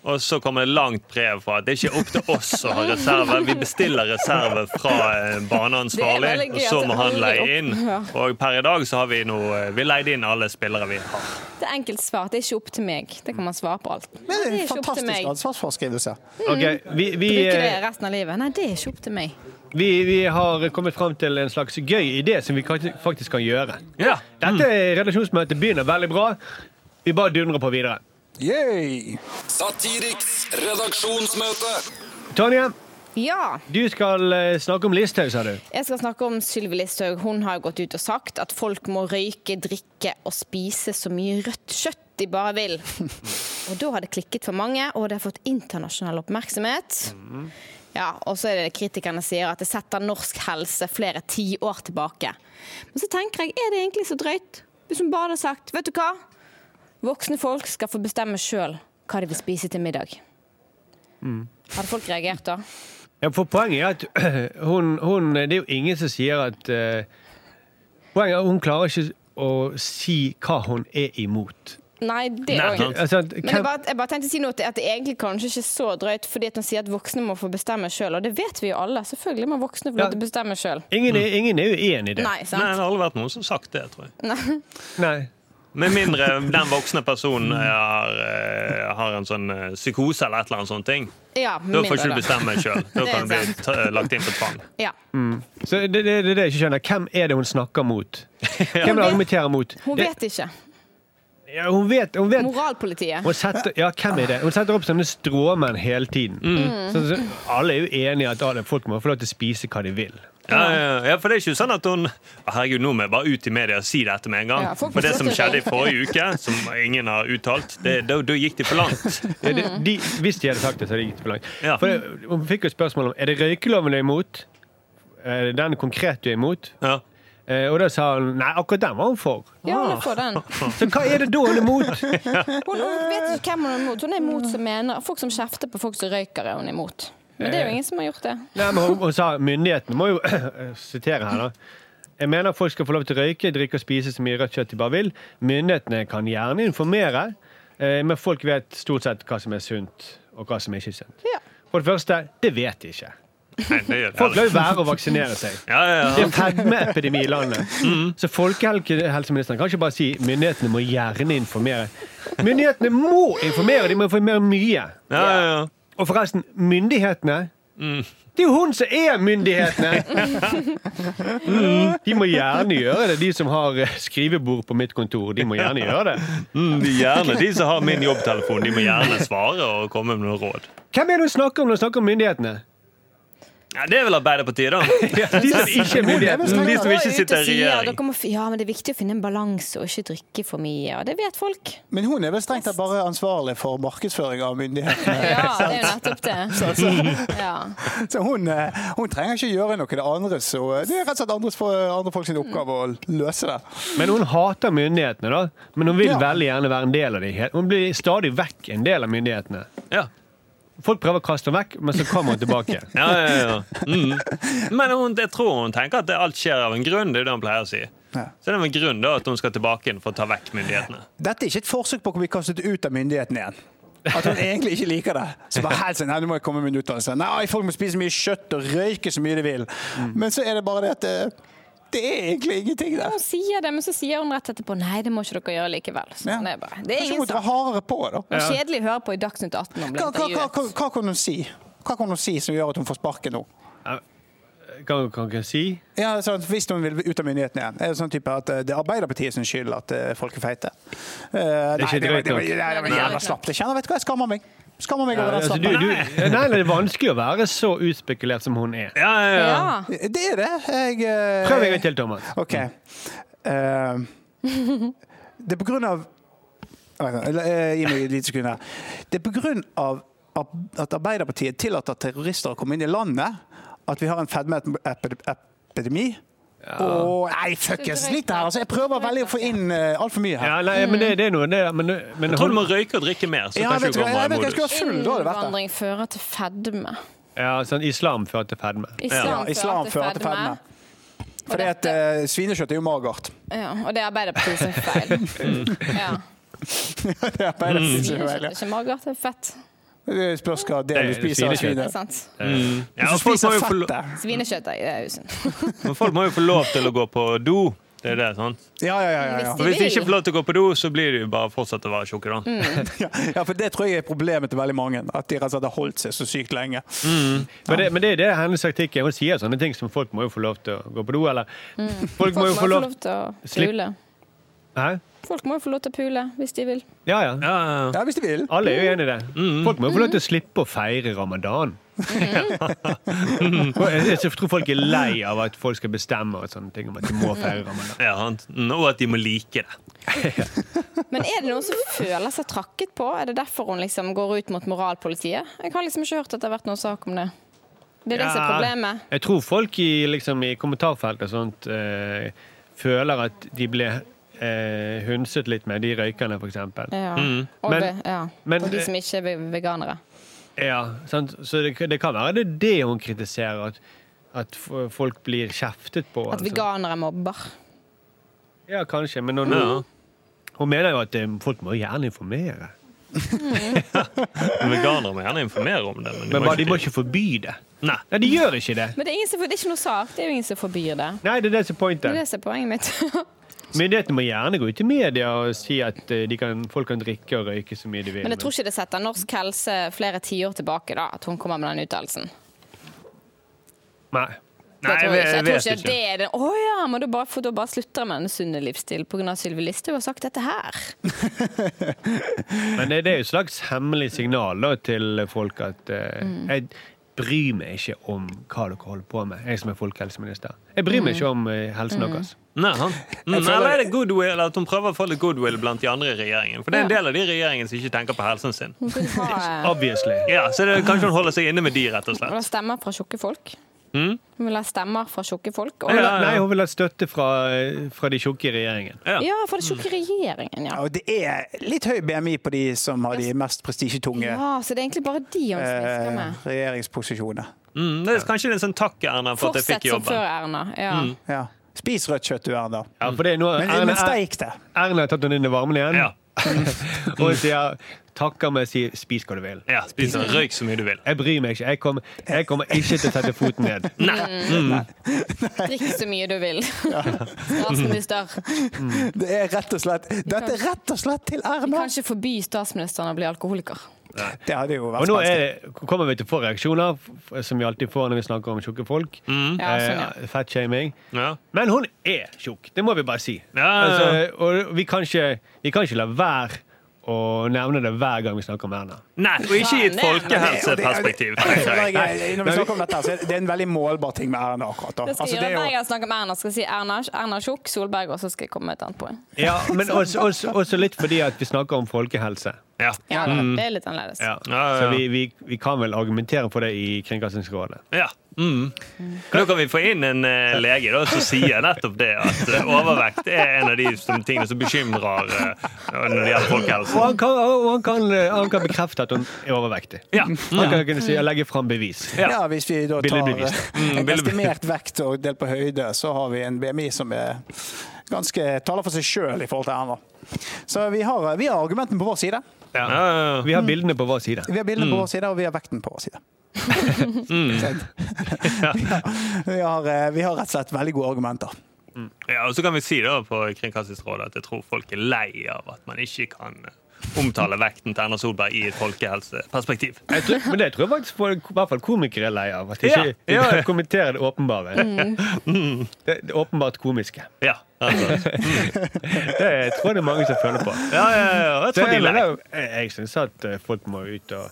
[SPEAKER 2] Og så kommer det langt brev fra at det er ikke opp til oss å ha reserve. Vi bestiller reserve fra eh, baneansvarlig,
[SPEAKER 5] Det er veldig
[SPEAKER 2] og
[SPEAKER 5] gøy
[SPEAKER 2] så
[SPEAKER 5] at
[SPEAKER 2] må
[SPEAKER 5] det
[SPEAKER 2] han
[SPEAKER 5] aldri
[SPEAKER 2] leie
[SPEAKER 5] opp-
[SPEAKER 2] inn.
[SPEAKER 5] Ja.
[SPEAKER 2] Og per i dag så har vi noe Vi leide inn alle spillere vi har.
[SPEAKER 5] Det er enkelt svar. Det er ikke opp til meg. Det kan man svare på alt. Nei,
[SPEAKER 1] Det er en
[SPEAKER 5] ikke opp til meg.
[SPEAKER 1] fantastisk ansvarsforskrivelse.
[SPEAKER 4] Ok, vi, vi,
[SPEAKER 5] Bruker det
[SPEAKER 4] eh,
[SPEAKER 5] resten av livet. Nei, det er ikke opp til meg.
[SPEAKER 4] vi, vi har kommet fram til en slags gøy idé som vi kan- faktisk kan gjøre.
[SPEAKER 2] Ja.
[SPEAKER 4] Dette relasjonsmøtet begynner veldig bra. Vi bare dundrer på videre.
[SPEAKER 1] Yay!
[SPEAKER 3] Satiriks redaksjonsmøte.
[SPEAKER 4] Tonje,
[SPEAKER 5] Ja.
[SPEAKER 4] du skal eh, snakke om Listhaug, sa du.
[SPEAKER 5] Jeg skal snakke om Sylvi Listhaug. Hun har gått ut og sagt at folk må røyke, drikke og spise så mye rødt kjøtt de bare vil. Og da har det klikket for mange, og det har fått internasjonal oppmerksomhet. Ja, og så er det kritikerne sier at det setter norsk helse flere tiår tilbake. Men så tenker jeg, er det egentlig så drøyt? Hvis hun bare hadde sagt, vet du hva? Voksne folk skal få bestemme sjøl hva de vil spise til middag. Hadde folk reagert da?
[SPEAKER 4] Ja, for poenget er at hun, hun Det er jo ingen som sier at eh, Poenget er at hun klarer ikke å si hva hun er imot.
[SPEAKER 5] Nei, det
[SPEAKER 2] Nei,
[SPEAKER 5] òg.
[SPEAKER 2] sant.
[SPEAKER 4] Altså, at-
[SPEAKER 5] Men jeg bare, jeg bare tenkte å si noe til at det er egentlig kanskje ikke så drøyt, fordi at hun sier at voksne må få bestemme sjøl. Og det vet vi jo alle. Selvfølgelig må voksne få
[SPEAKER 4] Ja.
[SPEAKER 5] lov til å bestemme sjøl.
[SPEAKER 4] ingen, er, ingen er uenig i det.
[SPEAKER 5] Nei,
[SPEAKER 2] Nei, det
[SPEAKER 5] sant?
[SPEAKER 2] har aldri vært noen som har sagt det, tror jeg.
[SPEAKER 4] Nei.
[SPEAKER 2] Med mindre den voksne personen har, eh, har en sånn eh, psykose eller et eller annet sånt ting.
[SPEAKER 5] Ja, med
[SPEAKER 2] Da får ikke du
[SPEAKER 5] mindre,
[SPEAKER 2] bestemme sjøl. Da
[SPEAKER 5] Det er
[SPEAKER 2] kan du bli t lagt inn for tvang.
[SPEAKER 5] Ja.
[SPEAKER 4] Så det, det, det er det jeg ikke skjønner. Hvem er det hun snakker mot? Hvem er det hun argumenterer mot?
[SPEAKER 5] Hun
[SPEAKER 4] Det-
[SPEAKER 5] vet ikke.
[SPEAKER 4] Ja, hun vet, hun vet.
[SPEAKER 5] Moralpolitiet.
[SPEAKER 4] Hun setter, ja, hvem er det? Hun setter opp sånne stråmenn hele tiden. Så, så, alle er jo enige i at ah, det- folk må få lov til å spise hva de vil.
[SPEAKER 5] Mm.
[SPEAKER 2] Ja, ja, ja. ja, for det er ikke sånn at hun «Å, Herregud, nå må jeg bare ut i media og si dette med en gang.
[SPEAKER 5] Ja, folk
[SPEAKER 2] for det
[SPEAKER 5] forstår
[SPEAKER 2] som
[SPEAKER 5] det.
[SPEAKER 2] skjedde i forrige uke, som ingen har uttalt, det, da, da gikk de for langt.
[SPEAKER 4] Ja, det, de, hvis de hadde sagt det, så hadde det gikk for langt.
[SPEAKER 2] Ja.
[SPEAKER 4] For det, hun fikk jo et spørsmål om er det røykeloven du er imot. Er det den konkret du er imot?
[SPEAKER 2] Ja.
[SPEAKER 4] Eh, og da sa hun nei, akkurat den var hun for.
[SPEAKER 5] Ja,
[SPEAKER 2] Ah.
[SPEAKER 5] hun er for den.
[SPEAKER 4] Så hva er det da hun er imot?
[SPEAKER 5] Hun, hun vet ikke hvem hun er imot. Hun er imot som mener Folk som kjefter på folk som røyker, er hun imot. Men
[SPEAKER 2] Eh.
[SPEAKER 5] det er jo ingen som har gjort det.
[SPEAKER 4] Nei, men hun, hun sa myndighetene må jo sitere her, da. Jeg mener folk skal få lov til å røyke, drikke og spise så mye rødt kjøtt de bare vil. Myndighetene kan gjerne informere, eh, men folk vet stort sett hva som er sunt, og hva som ikke er sunt.
[SPEAKER 5] Ja.
[SPEAKER 4] For det første, det vet de ikke.
[SPEAKER 2] Nei, det gjør
[SPEAKER 4] Folk
[SPEAKER 2] det.
[SPEAKER 4] lar jo være å vaksinere seg.
[SPEAKER 2] Ja, ja,
[SPEAKER 4] Det
[SPEAKER 2] ja.
[SPEAKER 4] er fedmeepidemi i landet. Så folkehelseministeren kan ikke bare si myndighetene må gjerne informere. Myndighetene må informere, de må informere mye.
[SPEAKER 2] ja, ja, ja.
[SPEAKER 4] Og forresten, myndighetene Det er jo hun som er myndighetene! Mm. De må gjerne gjøre det, de som har eh, skrivebord på mitt kontor. De må gjerne gjøre det.
[SPEAKER 2] Mm, de gjerne de som har min jobbtelefon, de må gjerne svare og komme med noen råd.
[SPEAKER 4] Hvem er det hun snakker om når hun snakker om myndighetene?
[SPEAKER 2] Ja, det er vel Arbeiderpartiet, da.
[SPEAKER 4] Ja, de som ikke er myndighetene.
[SPEAKER 2] De som
[SPEAKER 5] Hun
[SPEAKER 2] ikke
[SPEAKER 5] er ute
[SPEAKER 2] sitter
[SPEAKER 5] og
[SPEAKER 2] i
[SPEAKER 5] sier,
[SPEAKER 2] regjering.
[SPEAKER 5] dere må f- Ja, men det er viktig å finne en balanse og ikke drikke for mye. Og det vet folk.
[SPEAKER 1] Men hun er vel strengt tatt bare ansvarlig for markedsføring av myndighetene.
[SPEAKER 5] Ja, det er jo nettopp det.
[SPEAKER 1] Så, så,
[SPEAKER 5] Ja.
[SPEAKER 1] så hun, eh, hun trenger ikke gjøre noe. Det er andres, og eh, det er rett og slett andres, andre folks oppgave å løse det.
[SPEAKER 4] Men hun hater myndighetene, da. Men hun vil
[SPEAKER 1] Ja.
[SPEAKER 4] veldig gjerne være en del av dem. Hun blir stadig vekk en del av myndighetene.
[SPEAKER 2] Ja.
[SPEAKER 4] Folk prøver å kaste henne vekk, men så kommer hun tilbake.
[SPEAKER 2] Ja, ja, ja. Mm. Men hun, jeg tror hun tenker at det alt skjer av en grunn. Det er det hun pleier å si.
[SPEAKER 1] Ja.
[SPEAKER 2] Så det er en grunn da at hun skal tilbake igjen for å ta vekk myndighetene.
[SPEAKER 1] Dette er ikke et forsøk på å bli kastet ut av myndighetene igjen. At hun egentlig ikke liker det. Så bare helt sånn, nei, nå må jeg komme med en utdannelse. Nei, folk må spise mye kjøtt og røyke så mye de vil. Men så er det bare det at det, det er egentlig ingenting der.
[SPEAKER 5] Hun sier det, men så sier hun rett etterpå nei, det må ikke dere gjøre likevel. Så
[SPEAKER 1] Ja.
[SPEAKER 5] det er bare Det er
[SPEAKER 1] Kanskje hun
[SPEAKER 5] ingen
[SPEAKER 1] må dra
[SPEAKER 5] som
[SPEAKER 1] hardere på, da.
[SPEAKER 5] Det var kjedelig å høre på i Dagsnytt 18 om
[SPEAKER 1] Hva, hva, hva,
[SPEAKER 5] intervjuet.
[SPEAKER 1] hva, hva kan hun si? Hva kan hun si som gjør at hun får sparken nå?
[SPEAKER 4] Kan kan ikke si?
[SPEAKER 1] Ja, sånn, hvis hun vil ut av myndighetene igjen. Er det sånn type at eh, det er Arbeiderpartiet sin skyld at eh, folk er feite? Eh,
[SPEAKER 4] Det er
[SPEAKER 1] nei,
[SPEAKER 4] ikke drøyt
[SPEAKER 1] det var, det var,
[SPEAKER 4] nok.
[SPEAKER 1] det var, det var
[SPEAKER 5] Nei,
[SPEAKER 1] jævla
[SPEAKER 5] det er
[SPEAKER 1] slapt. Jeg kjenner, vet du hva, jeg skammer meg. Skammer meg
[SPEAKER 4] Ja,
[SPEAKER 1] over den
[SPEAKER 4] altså, du,
[SPEAKER 1] slappen.
[SPEAKER 4] du, nei, nei, det er vanskelig å være så utspekulert som hun er.
[SPEAKER 2] Ja, ja, ja.
[SPEAKER 5] Ja.
[SPEAKER 1] Det er det. Jeg, eh,
[SPEAKER 4] Prøv en gang til, Thomas.
[SPEAKER 1] OK. Eh, det er på grunn av Vent, da, eller, eh, Gi meg et lite sekund her. Det er på grunn av ab- at Arbeiderpartiet tillater terrorister å komme inn i landet, at vi har en fedmeepidemi. Og Nei, fuck, jeg sliter her. Altså, jeg prøver veldig å få inn eh, alt altfor mye her.
[SPEAKER 4] Ja, nei, men det, det er noe det, er- men, men
[SPEAKER 2] Jeg tror du må røyke og drikke mer. Så
[SPEAKER 1] Ja,
[SPEAKER 2] kanskje
[SPEAKER 1] jeg vet
[SPEAKER 2] du
[SPEAKER 1] ikke, jeg
[SPEAKER 2] kommer
[SPEAKER 1] vet
[SPEAKER 2] i
[SPEAKER 1] ikke, jeg skulle
[SPEAKER 2] modus.
[SPEAKER 1] være full, da hadde det vært det.
[SPEAKER 5] Innvandring fører til fedme.
[SPEAKER 4] ja, sånn islam fører til fedme.
[SPEAKER 5] Islam,
[SPEAKER 1] Ja, islam fører til fedme.
[SPEAKER 5] Og
[SPEAKER 1] Fordi at
[SPEAKER 5] dette-
[SPEAKER 1] eh, svinekjøtt er jo magert.
[SPEAKER 5] Ja, og det er Arbeiderpartiet sin feil. Ja.
[SPEAKER 1] det er
[SPEAKER 2] Mm.
[SPEAKER 1] Arbeiderpartiet sin
[SPEAKER 5] Svinekjøtt
[SPEAKER 1] feil.
[SPEAKER 5] er ikke magert, det er fett.
[SPEAKER 1] Det spørs hva det er
[SPEAKER 4] Det
[SPEAKER 1] du
[SPEAKER 4] er
[SPEAKER 1] spiser av
[SPEAKER 4] svinekjøtt.
[SPEAKER 5] Det er
[SPEAKER 1] svinet.
[SPEAKER 5] sant.
[SPEAKER 2] Ja,
[SPEAKER 1] Hvis
[SPEAKER 2] og
[SPEAKER 1] du
[SPEAKER 2] folk, må
[SPEAKER 1] spiser
[SPEAKER 2] jo få,
[SPEAKER 1] fett
[SPEAKER 2] lo-
[SPEAKER 1] der.
[SPEAKER 5] Svinekjøtt er- er usunt.
[SPEAKER 2] men folk må jo få lov til å gå på do. Det er det, sant?
[SPEAKER 1] Ja, ja, ja, ja, ja.
[SPEAKER 5] Hvis
[SPEAKER 2] Og hvis de
[SPEAKER 5] vil.
[SPEAKER 2] ikke får lov til å gå på do, så blir de jo bare fortsatt å være tjukke, da.
[SPEAKER 5] Mm.
[SPEAKER 1] Ja, ja, for det tror jeg er problemet til veldig mange. At de rett og slett har holdt seg så sykt lenge.
[SPEAKER 4] Men det, men det, er det er hennes taktikk er. Hun sier sånne ting som folk må jo få lov til å gå på do, eller Mm. Folk må jo få lov
[SPEAKER 5] til å
[SPEAKER 4] Slipp-
[SPEAKER 5] pule.
[SPEAKER 4] Hæ?
[SPEAKER 5] Folk må jo få lov til å pule hvis de vil.
[SPEAKER 4] Ja, ja. Mm.
[SPEAKER 2] Ja, ja, ja.
[SPEAKER 1] Ja, hvis de vil.
[SPEAKER 4] Alle er jo enig i det. Folk må jo få lov til å slippe å feire ramadan. Og Jeg jeg tror folk er lei av at folk skal bestemme og sånne ting om at de må feire ramadan.
[SPEAKER 2] Ja, sant. Mm, Og at de må like det.
[SPEAKER 5] Men er det noen som føler seg trakket på? Er det derfor hun liksom går ut mot moralpolitiet? Jeg har liksom ikke hørt at det har vært noen sak om det. Det er det som er
[SPEAKER 4] Ja,
[SPEAKER 5] problemet.
[SPEAKER 4] Jeg tror folk i, liksom, i kommentarfelt og sånt eh, føler at de ble eh, hundset litt med de røykerne, f.eks.
[SPEAKER 5] Ja. Og,
[SPEAKER 4] Men-
[SPEAKER 5] ve- ja.
[SPEAKER 4] men-
[SPEAKER 5] og de som ikke er ve- veganere.
[SPEAKER 4] Ja, sant? Så det, det kan være det er det hun kritiserer, at, at f- folk blir kjeftet på.
[SPEAKER 5] At
[SPEAKER 4] altså.
[SPEAKER 5] veganere mobber.
[SPEAKER 4] Ja, kanskje, men hun,
[SPEAKER 2] Ja.
[SPEAKER 4] hun mener jo at eh, folk må gjerne informere.
[SPEAKER 2] Veganere må gjerne informere om det, men de
[SPEAKER 4] Men
[SPEAKER 2] må
[SPEAKER 4] bare, de må
[SPEAKER 2] ikke
[SPEAKER 4] ikke forby det.
[SPEAKER 2] Nei.
[SPEAKER 4] Nei, de gjør ikke det.
[SPEAKER 5] Men det er, ingen som, det er ikke noe sak. Det er jo ingen som forbyr det.
[SPEAKER 4] Nei, det er det som
[SPEAKER 5] Det
[SPEAKER 4] er
[SPEAKER 5] er
[SPEAKER 4] pointet.
[SPEAKER 5] det som er poenget mitt.
[SPEAKER 4] Myndighetene må gjerne gå ut i media og si at eh, de kan, folk kan drikke og røyke så mye de vil.
[SPEAKER 5] Men jeg tror ikke det setter norsk helse flere tiår tilbake, da, at hun kommer med den uttalelsen.
[SPEAKER 4] Nei.
[SPEAKER 5] Det
[SPEAKER 2] Nei,
[SPEAKER 5] tror jeg, ikke. jeg tror
[SPEAKER 2] vet
[SPEAKER 5] ikke at det er den Å ja, men da bare, for da bare slutter jeg med den sunne livsstilen pga. Sylvi Listhaug har sagt dette her.
[SPEAKER 4] Men det, det er jo et slags hemmelig signal da, til folk at eh,
[SPEAKER 5] Mm.
[SPEAKER 4] jeg bryr meg ikke om hva dere holder på med, jeg som er folkehelseminister. Jeg
[SPEAKER 5] Mm.
[SPEAKER 4] bryr meg ikke om eh, helsen deres.
[SPEAKER 2] Nei, han. Mm,
[SPEAKER 1] føler-
[SPEAKER 2] eller er det goodwill, at hun prøver å få litt goodwill blant de andre i regjeringen? For det er en del av de i regjeringen som ikke tenker på helsen sin.
[SPEAKER 5] Hun vil ha eh,
[SPEAKER 4] Obviously.
[SPEAKER 2] Ja, så det, Kanskje hun holder seg inne med de, rett og
[SPEAKER 5] hun vil
[SPEAKER 2] slett.
[SPEAKER 5] ha stemmer fra tjukke folk.
[SPEAKER 2] Mm?
[SPEAKER 5] Hun vil ha stemmer fra tjukke folk.
[SPEAKER 2] Ja,
[SPEAKER 5] Og,
[SPEAKER 2] ja.
[SPEAKER 4] Nei, hun vil ha støtte fra, eh, fra de tjukke i regjeringen.
[SPEAKER 2] Ja.
[SPEAKER 5] ja, fra den tjukke regjeringen, ja.
[SPEAKER 1] Ja, og det er litt høy BMI på de som har de mest prestisjetunge
[SPEAKER 5] ja. Så det er egentlig bare de hun smisker
[SPEAKER 1] eh,
[SPEAKER 5] med.
[SPEAKER 1] regjeringsposisjonene.
[SPEAKER 2] Mm, det er kanskje det er en sånn takk, Erna, for at jeg
[SPEAKER 5] Fortsett
[SPEAKER 2] fikk
[SPEAKER 5] som før,
[SPEAKER 2] jobben. Mm.
[SPEAKER 5] Erna. Ja.
[SPEAKER 1] Ja. Spis rødt kjøtt, du, Erna.
[SPEAKER 4] Ja, for det er nå
[SPEAKER 1] Men,
[SPEAKER 4] Erna,
[SPEAKER 1] men steik det.
[SPEAKER 4] Erna har tatt henne inn i varmen igjen,
[SPEAKER 2] Ja,
[SPEAKER 4] og hun sier takker meg, sier spis hva du vil.
[SPEAKER 2] ja Spis og røyk så mye du vil.
[SPEAKER 4] Jeg bryr meg ikke. Jeg kommer, jeg kommer ikke til å sette foten ned.
[SPEAKER 5] Drikk så mye du vil. Statsminister.
[SPEAKER 1] Det er rett og slett Dette er rett og slett til
[SPEAKER 5] Vi
[SPEAKER 1] Erna!
[SPEAKER 5] kan ikke forby statsministeren å bli alkoholiker.
[SPEAKER 1] Det hadde jo
[SPEAKER 4] Og
[SPEAKER 1] vært
[SPEAKER 4] nå
[SPEAKER 1] spenstig.
[SPEAKER 4] er det, kommer vi til å få reaksjoner, f- som vi alltid får når vi snakker om tjukke folk.
[SPEAKER 5] Ja, sånn, ja.
[SPEAKER 4] Eh, Fettshaming.
[SPEAKER 2] Mm. Ja.
[SPEAKER 4] Men hun er tjukk, det må vi bare si.
[SPEAKER 2] Ja, ja, ja.
[SPEAKER 4] Altså, og vi kan, ikke, vi kan ikke la være å nevne det hver gang vi snakker om Erna.
[SPEAKER 2] Nei, og ikke i et
[SPEAKER 5] Faen, det er-
[SPEAKER 2] folkehelseperspektiv.
[SPEAKER 1] Ja, det-
[SPEAKER 2] tenker jeg.
[SPEAKER 1] ja, det- Når vi snakker om dette, her, så er det- det er en veldig målbar ting med Erna akkurat. Da.
[SPEAKER 5] Det skal
[SPEAKER 1] Altså,
[SPEAKER 5] jeg
[SPEAKER 1] det
[SPEAKER 5] gjøre
[SPEAKER 1] er jo-
[SPEAKER 5] hver gang jeg snakker om Erna. Skal jeg si Erna, Erna er tjukk, Solberg, og så skal jeg komme med et annet poeng.
[SPEAKER 4] Ja, men også, også, også litt fordi at vi snakker om folkehelse.
[SPEAKER 2] Ja. Mm.
[SPEAKER 5] Ja, Det er litt annerledes.
[SPEAKER 4] Ja.
[SPEAKER 2] Ja, ja,
[SPEAKER 4] Så
[SPEAKER 2] ja.
[SPEAKER 4] vi, vi, vi kan vel argumentere for det i Kringkastingsrådet.
[SPEAKER 2] Ja. Mm. Da kan vi få inn en eh, lege da, som sier nettopp det, at eh, overvekt er en av de som, tingene som bekymrer eh, når det gjelder
[SPEAKER 4] Og
[SPEAKER 2] folkehelse.
[SPEAKER 4] han kan, og han kan, han kan bekrefte at hun er overvektig.
[SPEAKER 2] Ja.
[SPEAKER 4] Han kan kunne si, legge fram bevis.
[SPEAKER 2] Mm. Ja. Mm,
[SPEAKER 1] ja, hvis vi da tar
[SPEAKER 4] Billedbevis.
[SPEAKER 1] eh, en estimert vekt og delt på høyde, så har vi en BMI som er ganske taler for seg sjøl i forhold til Erna. Så vi har, vi har argumentene på vår side.
[SPEAKER 2] Ja, ja, ja.
[SPEAKER 4] Vi har bildene på vår side.
[SPEAKER 1] Vi har bildene
[SPEAKER 2] Mm.
[SPEAKER 1] på vår side, og vi har vekten på vår side. Sant? ja, vi, har, eh, vi har rett og slett veldig gode argumenter.
[SPEAKER 2] Ja, og så kan vi si da på Kringkastingsrådet at jeg tror folk er lei av at man ikke kan eh, omtale vekten til Erna Solberg i et folkehelseperspektiv.
[SPEAKER 4] Jeg tror, men det tror jeg faktisk folk, i hvert fall komikere er lei av. At de ikke
[SPEAKER 2] Ja, ja, ja.
[SPEAKER 4] kommenterer det åpenbare. Mm. Det, det åpenbart komiske.
[SPEAKER 2] Ja, altså.
[SPEAKER 4] Det tror jeg det er mange som føler på.
[SPEAKER 2] ja, ja, ja. Jeg
[SPEAKER 4] Så
[SPEAKER 2] tror de
[SPEAKER 4] jeg
[SPEAKER 2] er lei.
[SPEAKER 4] mener, jeg, jeg syns at eh, folk må ut og,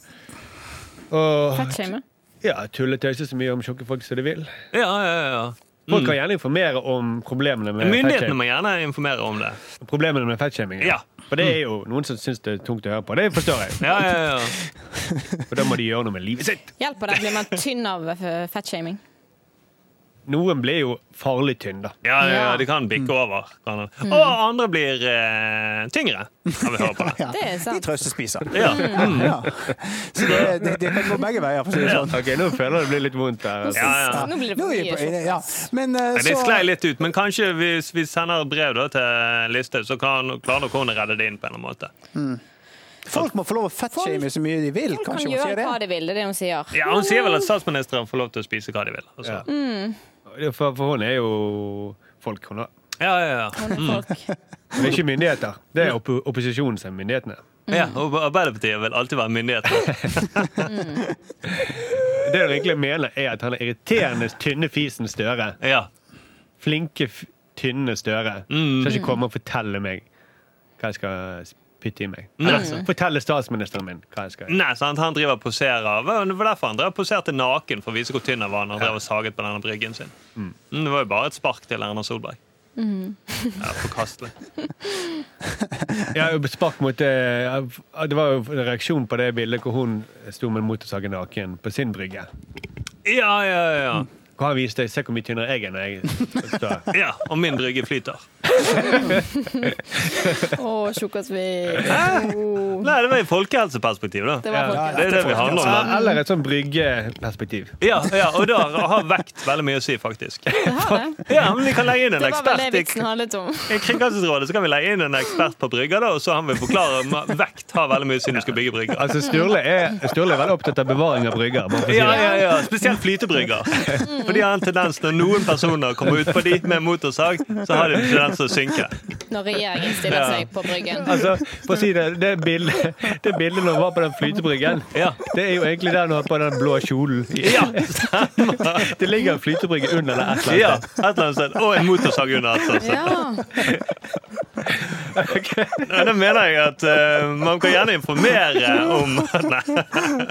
[SPEAKER 4] og
[SPEAKER 5] Fettshame.
[SPEAKER 4] ja, tulle og tøyse så mye om tjukke folk som de vil.
[SPEAKER 2] Ja, ja, ja.
[SPEAKER 4] Folk kan gjerne informere om problemene med
[SPEAKER 2] Mm. Myndighetene
[SPEAKER 4] fettshaming.
[SPEAKER 2] må gjerne informere om det.
[SPEAKER 4] Problemene med fettshaming.
[SPEAKER 2] Ja. Mm.
[SPEAKER 4] For det er jo noen som syns det er tungt å høre på. Det forstår jeg.
[SPEAKER 2] Ja, ja, ja.
[SPEAKER 4] For da må de gjøre noe med livet sitt.
[SPEAKER 5] Hjelper det? Blir man tynn av eh, fettshaming?
[SPEAKER 4] Noen blir jo farlig tynn, da.
[SPEAKER 2] Ja, ja, ja,
[SPEAKER 5] Ja.
[SPEAKER 2] de kan bikke over. hverandre. Og andre blir eh, tyngre, kan vi høre på. det.
[SPEAKER 1] Ja.
[SPEAKER 5] Det er
[SPEAKER 1] De
[SPEAKER 5] sant.
[SPEAKER 1] trøstespiser.
[SPEAKER 2] Ja. Mm.
[SPEAKER 1] Ja. Så det, det, det kan gå begge veier, for å si det sånn.
[SPEAKER 4] Ok, Nå føler jeg det blir litt vondt her. Altså.
[SPEAKER 2] Ja, ja.
[SPEAKER 5] Nå blir det
[SPEAKER 1] Nå
[SPEAKER 5] for
[SPEAKER 1] er vi
[SPEAKER 5] mye
[SPEAKER 1] på, ja.
[SPEAKER 5] tjukkas.
[SPEAKER 1] Men eh,
[SPEAKER 2] Men det
[SPEAKER 1] så
[SPEAKER 2] sklei litt ut, men kanskje hvis vi sender et brev da, til Listhaug, så kan, klarer nok hun å redde det inn på en eller annen måte.
[SPEAKER 1] Folk må få lov å fettshame så mye de vil.
[SPEAKER 5] Folk kan
[SPEAKER 1] Kanskje hun
[SPEAKER 5] gjøre
[SPEAKER 1] sier det?
[SPEAKER 5] hva de vil, det er det hun sier.
[SPEAKER 2] Ja, Hun sier vel at statsministeren får lov til å spise hva de vil. Altså.
[SPEAKER 4] Ja. For, for hun er jo folk, hun da.
[SPEAKER 2] Ja, ja, ja.
[SPEAKER 5] Hun er
[SPEAKER 2] Mm.
[SPEAKER 5] folk.
[SPEAKER 4] Hun er ikke myndigheter. Det er oppo opposisjonen som er myndighetene.
[SPEAKER 2] ja. Og Arbeiderpartiet vil alltid være myndigheter.
[SPEAKER 4] Det hun egentlig mener, er at han er irriterende tynne fisen Støre.
[SPEAKER 2] Ja.
[SPEAKER 4] Flinke, f tynne Støre. Skal ikke komme og fortelle meg hva jeg skal putte i meg. Eller altså, fortelle statsministeren min hva jeg skal
[SPEAKER 2] Nei, sant? Han driver og poserer. Det var derfor han drev og poserte naken for å vise hvor tynn han var. når Han drev og saget på denne bryggen sin. Mm, Det var jo bare et spark til Erna Solberg. Ja, Forkastelig.
[SPEAKER 4] Ja, spark mot eh, Det var jo en reaksjon på det bildet hvor hun sto med en motorsag naken på sin brygge.
[SPEAKER 2] Ja, ja, ja.
[SPEAKER 4] Hvor han viste 'se hvor mye tynnere jeg er' når jeg står her».
[SPEAKER 2] ja. Og min brygge flyter.
[SPEAKER 5] Å, tjukkasvin. Åh.
[SPEAKER 2] Nei, det var i folkehelseperspektiv, da.
[SPEAKER 5] Det
[SPEAKER 2] Det
[SPEAKER 5] var folkehelseperspektiv.
[SPEAKER 2] er det vi handler om. da.
[SPEAKER 4] Eller et sånn bryggeperspektiv.
[SPEAKER 2] Ja, ja, og da har vekt veldig mye å si, faktisk.
[SPEAKER 5] Det har det.
[SPEAKER 2] Ja, men Vi kan leie inn en
[SPEAKER 5] Det var vel
[SPEAKER 2] ekspert
[SPEAKER 5] det
[SPEAKER 2] i
[SPEAKER 5] vitsen handlet om.
[SPEAKER 2] i Kringkastingsrådet så kan vi leie inn en ekspert på brygger, da, og så han vil forklare om vekt har veldig mye å si når du skal bygge brygger.
[SPEAKER 4] Altså, Sturle er, Sturle er veldig opptatt av bevaring av brygger. bare for å si
[SPEAKER 2] Ja,
[SPEAKER 4] det.
[SPEAKER 2] ja, ja, Spesielt flytebrygger. For de har en tendens når noen personer kommer utpå de med motorsag, så har de en tendens til å synke.
[SPEAKER 5] Når regjeringen stiller
[SPEAKER 2] Ja.
[SPEAKER 5] seg på bryggen.
[SPEAKER 4] Altså, for å si det, det bildet, det bildet når han var på den flytebryggen,
[SPEAKER 2] Ja.
[SPEAKER 4] det er jo egentlig der han var på den blå kjolen.
[SPEAKER 2] Ja,
[SPEAKER 4] Det ligger en flytebrygge under der et eller
[SPEAKER 2] ja
[SPEAKER 4] annet.
[SPEAKER 2] et eller annet sted. Og en motorsag under. Altså. Så-
[SPEAKER 5] Ja.
[SPEAKER 2] Nei, Da mener jeg at eh, man kan gjerne informere om Nei,
[SPEAKER 5] Mer om vekt.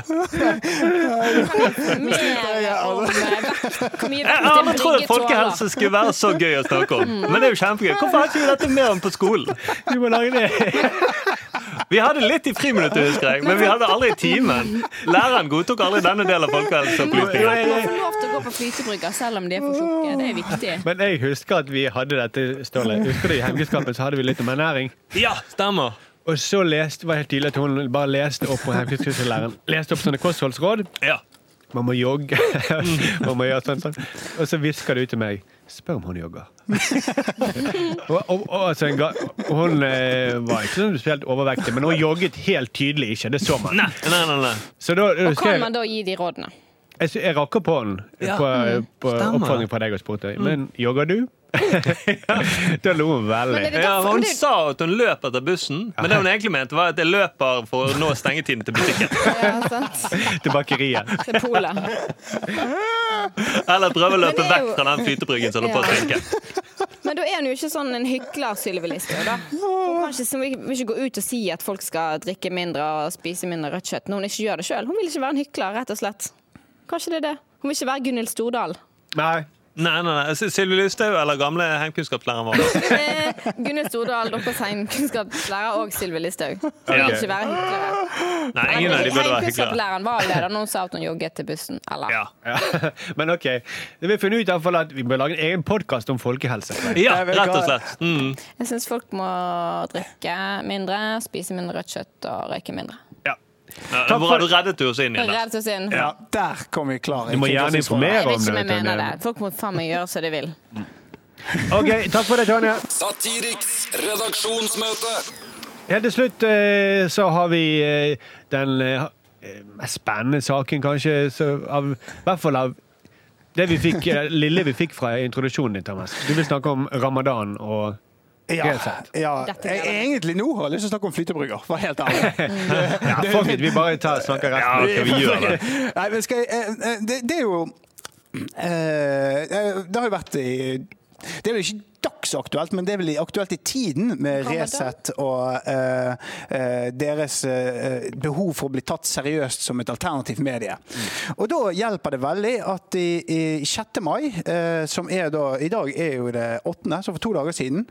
[SPEAKER 5] Hvor mye
[SPEAKER 2] jeg
[SPEAKER 5] vekt en
[SPEAKER 2] aldri trodd at
[SPEAKER 5] brygge tåler.
[SPEAKER 2] folkehelse skulle være så gøy å snakke om.
[SPEAKER 5] Mm.
[SPEAKER 2] Men det er jo kjempegøy. Hvorfor har ikke vi dette mer om på skolen?
[SPEAKER 4] Du må lage det.
[SPEAKER 2] Vi hadde litt i friminuttet, husker jeg, men vi hadde aldri i timen. Læreren godtok aldri denne delen av folkehelseopplysningen.
[SPEAKER 5] Man får lov til å gå på flytebrygger selv om de er for tjukke. Det er viktig.
[SPEAKER 4] Men jeg husker at vi hadde dette, Ståle. Husker du i Hemgeskapet så hadde vi litt om ernæring?
[SPEAKER 2] Ja, stemmer.
[SPEAKER 4] Og så leste, var det helt tydelig at hun bare leste opp på Hemgeskapslæreren. Leste opp sånne kostholdsråd.
[SPEAKER 2] Ja.
[SPEAKER 4] Man må jogge. Man må gjøre sånn, sånn. Og så hvisker det ut til meg. Spør om hun jogger. og, og, og, altså, en ga, hun eh, var ikke sånn spesielt overvektig, men hun jogget helt tydelig ikke. Det så man.
[SPEAKER 2] Nei, nei, nei. nei.
[SPEAKER 4] Så da, da husker
[SPEAKER 5] Kan
[SPEAKER 4] jeg,
[SPEAKER 5] man da gi de rådene?
[SPEAKER 4] jeg, jeg rakk opp hånden
[SPEAKER 2] Ja,
[SPEAKER 4] på, på
[SPEAKER 2] Mm. stemmer. Mm.
[SPEAKER 4] oppfordring fra deg og spurte men jogger du. da lo hun veldig.
[SPEAKER 5] Men er det
[SPEAKER 2] Ja,
[SPEAKER 5] derfor
[SPEAKER 2] hun
[SPEAKER 5] det-
[SPEAKER 2] sa at hun løp etter bussen, men det hun egentlig mente, var at jeg løper for å nå stengetiden til butikken.
[SPEAKER 5] Ja, sant?
[SPEAKER 4] Til bakeriet.
[SPEAKER 5] Til polet.
[SPEAKER 2] Eller prøve å løpe
[SPEAKER 5] Men det er
[SPEAKER 2] vekk
[SPEAKER 5] jo-
[SPEAKER 2] fra den flytebryggen som holder på å synke.
[SPEAKER 5] Men da er hun jo ikke sånn en hykler, Sylvi Listhaug, da. Hun kan ikke, så vil vil ikke gå ut og si at folk skal drikke mindre og spise mindre rødt kjøtt når hun ikke gjør det sjøl. Hun vil ikke være en hykler, rett og slett. Kanskje det er det. Hun vil ikke være Gunhild Stordal.
[SPEAKER 4] Nei.
[SPEAKER 2] Nei, nei, nei. Sy- Sylvi Lysthaug eller gamle heimkunnskapslæreren vår.
[SPEAKER 5] Eh, Gunhild Stordal, deres heimkunnskapslærer, og Sylvi Listhaug. Hun vil
[SPEAKER 2] Ja.
[SPEAKER 5] ikke være hyklere.
[SPEAKER 2] Nei, ingen av de burde være hyklere.
[SPEAKER 5] Heimkunnskapslæreren var leder når hun sa at hun jogget til bussen, eller?
[SPEAKER 2] Ja.
[SPEAKER 4] Ja. Men OK. Vi har funnet ut i hvert fall at vi bør lage en egen podkast om folkehelse.
[SPEAKER 2] ja,
[SPEAKER 1] Jeg vet
[SPEAKER 2] rett og
[SPEAKER 1] hva-
[SPEAKER 2] slett. Mm.
[SPEAKER 5] Jeg syns folk må drikke mindre, spise mindre rødt kjøtt og røyke mindre.
[SPEAKER 4] Ja.
[SPEAKER 2] Ja, Bra,
[SPEAKER 4] Takk for-
[SPEAKER 2] du reddet jo oss inn igjen. der.
[SPEAKER 5] Redd oss inn.
[SPEAKER 1] Ja, der kom vi klar.
[SPEAKER 4] Du må gjerne informere.
[SPEAKER 5] Jeg vet ikke om jeg
[SPEAKER 4] Vet du,
[SPEAKER 5] mener det.
[SPEAKER 4] det-
[SPEAKER 5] Folk må faen meg gjøre som de vil.
[SPEAKER 4] OK, takk for det, Tanja.
[SPEAKER 3] Satiriks redaksjonsmøte.
[SPEAKER 4] Helt til slutt eh, så har vi eh, den eh, mest spennende saken, kanskje, så av, i hvert fall av det vi fikk, eh, lille vi fikk fra introduksjonen din, Thomas. Du vil snakke om ramadan og
[SPEAKER 1] Ja,
[SPEAKER 4] Helt sant.
[SPEAKER 1] ja.
[SPEAKER 5] Dette blir
[SPEAKER 1] Jeg,
[SPEAKER 5] veldig-
[SPEAKER 1] egentlig nå har jeg lyst til å snakke om flytebrygger, for å være helt ærlig.
[SPEAKER 4] Ja, fuck it, vi bare tar, snakker
[SPEAKER 2] Ja,
[SPEAKER 4] resten.
[SPEAKER 2] ok, vi gjør det.
[SPEAKER 1] Nei, men skal jeg, eh, eh, det, det er jo eh, eh, Det har jo vært i Det er vel ikke dagsaktuelt, men det er vel i- aktuelt i tiden med
[SPEAKER 5] Ramadan.
[SPEAKER 1] Resett og eh, eh, deres eh, behov for å bli tatt seriøst som et alternativt medie. Og da hjelper det veldig at i, i 6. mai, eh, som er da I dag er jo det 8., så for to dager siden,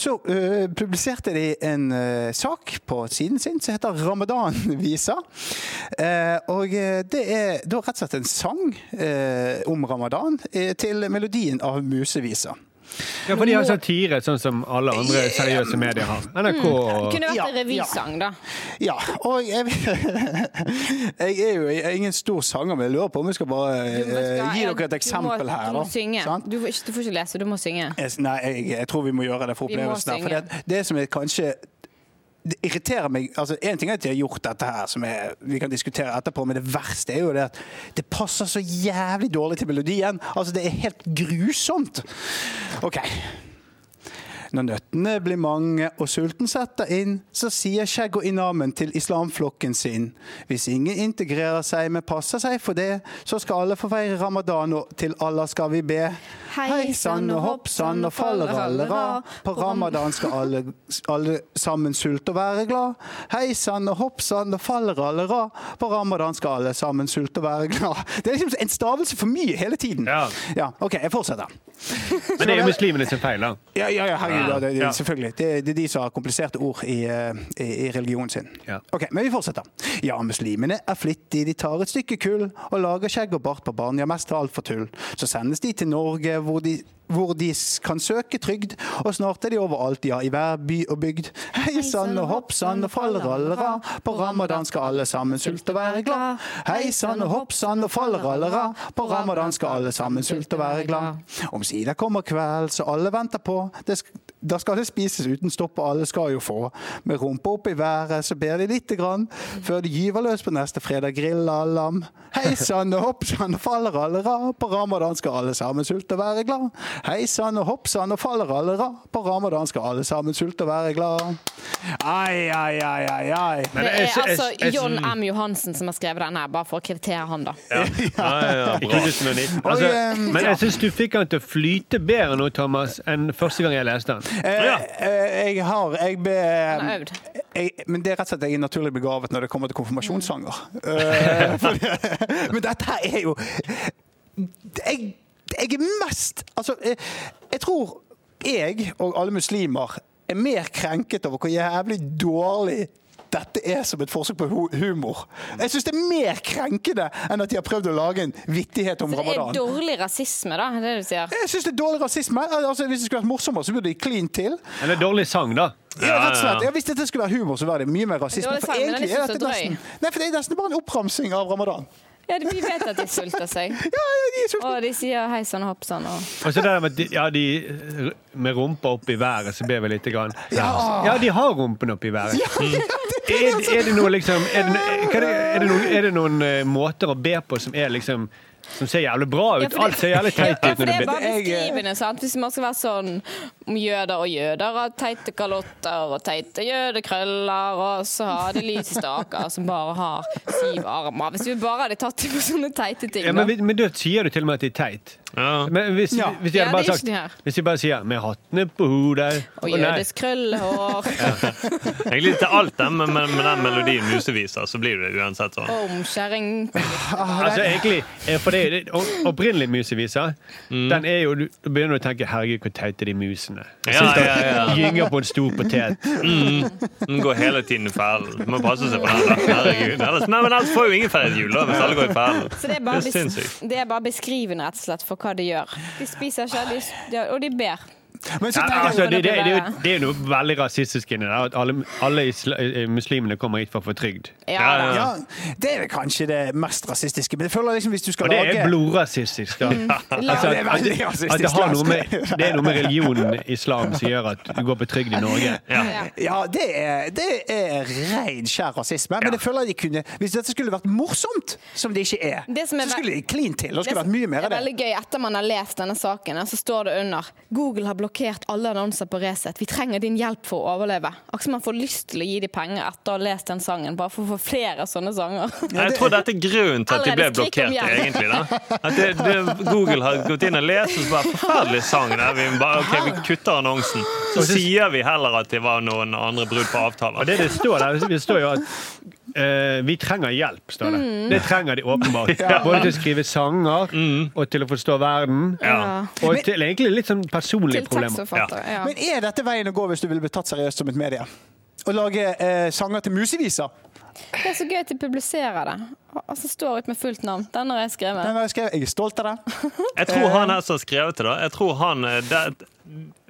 [SPEAKER 1] så eh, publiserte de en eh, sak på siden sin som heter Ramadan-visa. Eh, og eh, det er da rett og slett en sang eh, om ramadan eh, til melodien av Musevisa.
[SPEAKER 4] Ja, for de har satire, sånn som alle andre seriøse medier har.
[SPEAKER 2] Mm.
[SPEAKER 4] NRK og
[SPEAKER 5] Kunne vært en
[SPEAKER 1] Ja, Eh,
[SPEAKER 5] revysang, da.
[SPEAKER 1] Ja, og jeg, jeg er jo ingen stor sanger, men jeg lurer på om jeg skal bare
[SPEAKER 5] Du må-
[SPEAKER 1] eh, gi
[SPEAKER 5] ja,
[SPEAKER 1] dere et
[SPEAKER 5] du
[SPEAKER 1] eksempel
[SPEAKER 5] må,
[SPEAKER 1] her.
[SPEAKER 5] Du må
[SPEAKER 1] da.
[SPEAKER 5] synge.
[SPEAKER 1] Sant?
[SPEAKER 5] Du, får ikke- du får ikke lese, du må synge.
[SPEAKER 1] Jeg- Nei, jeg, jeg tror vi må gjøre det for
[SPEAKER 5] Vi må
[SPEAKER 1] opplevelsen. her, For
[SPEAKER 5] synge.
[SPEAKER 1] det, det som er kanskje det irriterer meg, altså En ting er at de har gjort dette her, som er, vi kan diskutere etterpå, men det verste er jo det at det passer så jævlig dårlig til melodien. Altså, Det er helt grusomt. OK. Når nøttene blir mange og sulten setter inn, så sier skjegg og inamen til islamflokken sin. Hvis ingen integrerer seg, men passer seg for det, så skal alle få feire ramadan, og til Allah skal vi be.
[SPEAKER 5] Hei,
[SPEAKER 1] Hei sann og hopp sann og fallerallera, på ramadan skal alle, alle sammen sulte og være glad. Hei sann og hopp sann og fallerallera, på ramadan skal alle sammen sulte og være glad. Det er liksom en stavelse for mye hele tiden.
[SPEAKER 4] Ja.
[SPEAKER 1] ja OK, jeg fortsetter.
[SPEAKER 4] Men det er jo muslimene sin feil, da.
[SPEAKER 1] Ja, ja, ja, herregud, ja, det, det,
[SPEAKER 4] Ja.
[SPEAKER 1] selvfølgelig. Det, det er de som har kompliserte ord i, eh, i, i religionen sin.
[SPEAKER 4] Ja.
[SPEAKER 1] Ok, Men vi fortsetter. Ja, muslimene er flittige. De tar et stykke kull og lager skjegg og bart på barn. Ja, mest av alt for tull. Så sendes de til Norge, hvor de hvor de s- kan søke trygd, og snart er de overalt, ja, i hver by og bygd. Hei sann og hopp sann og fallerallera, på ramadan skal alle sammen sulte og være glad. Hei sann og hopp sann og fallerallera, på ramadan skal alle sammen sulte og være glad. Omsider kommer kveld, så alle venter på. Det sk da skal det spises uten stopp, og alle skal jo få. Med rumpa opp i været, så ber de lite grann. Før de gyver løs på neste fredag, grilla lam. Hei sann og hopp sann og faller alle ra. På ramadan skal alle sammen sulte og være glad. Hei sann og hopp sann og faller alle ra. På ramadan skal alle sammen sulte og være glad. Ai, ai, ai, ai, ai.
[SPEAKER 5] Det
[SPEAKER 4] jeg-
[SPEAKER 5] er
[SPEAKER 4] jeg-
[SPEAKER 5] altså
[SPEAKER 4] jeg-
[SPEAKER 5] John M. Johansen som har skrevet den her, bare for å kreditere han, da.
[SPEAKER 2] Ja, ja,
[SPEAKER 4] I
[SPEAKER 2] bra.
[SPEAKER 4] 2019.
[SPEAKER 1] Oi,
[SPEAKER 4] Altså,
[SPEAKER 1] eh,
[SPEAKER 2] ehm,
[SPEAKER 4] men jeg syns du fikk den til å flyte bedre nå, Thomas, enn første gang jeg leste den.
[SPEAKER 1] Eh,
[SPEAKER 2] Ja.
[SPEAKER 1] eh, jeg har jeg be,
[SPEAKER 5] har øvd.
[SPEAKER 1] jeg, Men det er rett og slett at jeg er naturlig begavet når det kommer til konfirmasjonssanger.
[SPEAKER 5] Mm.
[SPEAKER 1] Eh, for det- men dette her er jo Jeg, jeg er mest Altså, jeg, jeg tror jeg og alle muslimer er mer krenket over hvor jævlig dårlig dette er som et forsøk på hu- humor. Jeg syns det er mer krenkende enn at de har prøvd å lage en vittighet om
[SPEAKER 5] Det er
[SPEAKER 1] ramadan.
[SPEAKER 5] dårlig rasisme, da, det du sier.
[SPEAKER 1] Jeg syns det er dårlig rasisme. Altså, hvis det skulle vært morsommere, så burde de klint til.
[SPEAKER 4] Eller dårlig sang, da.
[SPEAKER 1] Ja, rett og
[SPEAKER 2] Ja, ja,
[SPEAKER 1] slett.
[SPEAKER 2] ja.
[SPEAKER 1] Ja, hvis dette skulle være humor, så var det mye mer rasisme.
[SPEAKER 5] Det var
[SPEAKER 1] For
[SPEAKER 5] litt feil, men
[SPEAKER 1] egentlig
[SPEAKER 5] den er
[SPEAKER 1] er
[SPEAKER 5] ikke
[SPEAKER 1] dette
[SPEAKER 5] så drøy.
[SPEAKER 1] nesten, nei, for det er nesten bare en oppramsing av ramadan.
[SPEAKER 5] Ja, de- Vi vet at de sulter seg.
[SPEAKER 1] Ja, ja, de er sultne.
[SPEAKER 5] Og de sier hei sann og hopp sann. Og...
[SPEAKER 4] Og så det der med at de, ja, de med rumpa opp i været, så ber vi lite grann.
[SPEAKER 1] Ja.
[SPEAKER 4] ja, de har rumpen opp i været. Mm.
[SPEAKER 1] Ja, ja, det- det
[SPEAKER 4] Er,
[SPEAKER 1] er altså-
[SPEAKER 4] er det noe liksom er det, hva er det, er det noen, er det noen eh, måter å be på som er liksom Som ser jævlig bra
[SPEAKER 5] Ja,
[SPEAKER 4] ut?
[SPEAKER 5] for det-
[SPEAKER 4] Alt ser jævlig teit
[SPEAKER 5] Ja,
[SPEAKER 4] ut
[SPEAKER 5] for det
[SPEAKER 4] når du
[SPEAKER 5] er
[SPEAKER 4] ber.
[SPEAKER 5] bare
[SPEAKER 1] Jeg, eh,
[SPEAKER 5] beskrivende, sant? Hvis man skal være sånn om jøder og jøder har teite kalotter og teite jødekrøller, og så har de lysestaker som bare har syv armer. Hvis vi bare hadde tatt dem på sånne teite ting,
[SPEAKER 4] Ja, men,
[SPEAKER 5] da.
[SPEAKER 4] vi- men da sier du til og med at de er teit.
[SPEAKER 2] Ja.
[SPEAKER 4] Men hvis,
[SPEAKER 1] Ja.
[SPEAKER 4] hvis de
[SPEAKER 5] Ja,
[SPEAKER 4] hadde bare
[SPEAKER 5] det er ikke det her.
[SPEAKER 4] sagt Hvis de bare sier 'med hattene på hodet' Å,
[SPEAKER 5] Og
[SPEAKER 4] nei.
[SPEAKER 5] jødisk krøllehår
[SPEAKER 2] Egentlig til alt det, men men med den melodien Muse viser, så blir det uansett sånn.
[SPEAKER 5] og omskjæring.
[SPEAKER 4] Altså egentlig, eh, for det, det o- Opprinnelig musevisa,
[SPEAKER 2] Mm.
[SPEAKER 4] den er jo Du du begynner å tenke 'herregud, hvor teite de musene'.
[SPEAKER 2] Ja, ja, ja.
[SPEAKER 4] Gynger på en stor potet.
[SPEAKER 2] Den går hele tiden i fellen. Må passe seg for den. da. Herregud. Ellers, nei, men ellers får jo ingen feriejul da, hvis alle går i fellen.
[SPEAKER 5] Så det er, bare
[SPEAKER 2] Det er
[SPEAKER 5] bes
[SPEAKER 2] sinnssykt.
[SPEAKER 5] det er bare beskrivende rett og slett for hva de gjør. De spiser ikke, de, de, og de ber.
[SPEAKER 1] Men så
[SPEAKER 4] Ja,
[SPEAKER 1] tenker
[SPEAKER 4] altså,
[SPEAKER 1] jeg
[SPEAKER 4] det, det, det, er jo- det er jo noe veldig rasistisk inni der. At alle, alle isla, eh, muslimene kommer hit for å få trygd.
[SPEAKER 5] Ja,
[SPEAKER 2] Ja, ja.
[SPEAKER 5] da.
[SPEAKER 1] ja, Det er vel kanskje det mest rasistiske, men jeg føler liksom hvis du skal
[SPEAKER 4] Og det er
[SPEAKER 1] lage
[SPEAKER 4] blodrasistisk, da. Altså,
[SPEAKER 1] Ja, det er
[SPEAKER 4] at,
[SPEAKER 1] veldig
[SPEAKER 4] at,
[SPEAKER 1] rasistisk,
[SPEAKER 4] at det, har
[SPEAKER 1] Lars.
[SPEAKER 4] noe med, det er noe med religionen islam som gjør at du går på trygd i Norge.
[SPEAKER 5] Ja.
[SPEAKER 1] Ja, det er, det er rein, skjær rasisme. Men jeg føler de kunne Hvis dette skulle vært morsomt, som det ikke er,
[SPEAKER 5] Det som er
[SPEAKER 1] så
[SPEAKER 5] ve-
[SPEAKER 1] skulle de klint til. Det skulle
[SPEAKER 5] Det
[SPEAKER 1] vært mye mer
[SPEAKER 5] er
[SPEAKER 1] av det.
[SPEAKER 5] veldig gøy. Etter man har lest denne saken, så står det under Google har blokkert alle annonser på Resett. Vi trenger din hjelp for å overleve. Akkurat som man får lyst til å gi dem penger etter å ha lest den sangen, bare for å få flere sånne sanger.
[SPEAKER 2] Jeg tror dette er grunnen til at de ble
[SPEAKER 5] Allerede skrik om
[SPEAKER 2] blokkert,
[SPEAKER 5] hjelp.
[SPEAKER 2] egentlig. da. At det, det, Google har gått inn og lest og så bare forferdelig sang. Der. Vi bare, ok, vi kutter annonsen. Så sier vi heller at det var noen andre brudd på
[SPEAKER 4] Og
[SPEAKER 2] avtaler.
[SPEAKER 4] det det står der, det står jo at eh, vi trenger hjelp, står det. Det trenger de åpenbart. Både til å skrive sanger og til å forstå verden.
[SPEAKER 2] Ja.
[SPEAKER 4] Og til egentlig litt sånn personlige
[SPEAKER 5] Til
[SPEAKER 4] problemer.
[SPEAKER 5] tekstforfatter. Ja.
[SPEAKER 1] Men er dette veien å gå hvis du vil bli tatt seriøst som et medie? Å lage eh, sanger til museviser?
[SPEAKER 5] Det er så gøy at de publiserer det. Og så står ut med fullt navn. Den har jeg
[SPEAKER 1] Den
[SPEAKER 5] skrevet.
[SPEAKER 1] har jeg skrevet. Jeg er stolt av det.
[SPEAKER 2] Jeg tror han her som har skrevet det, da jeg tror han, eh, det, det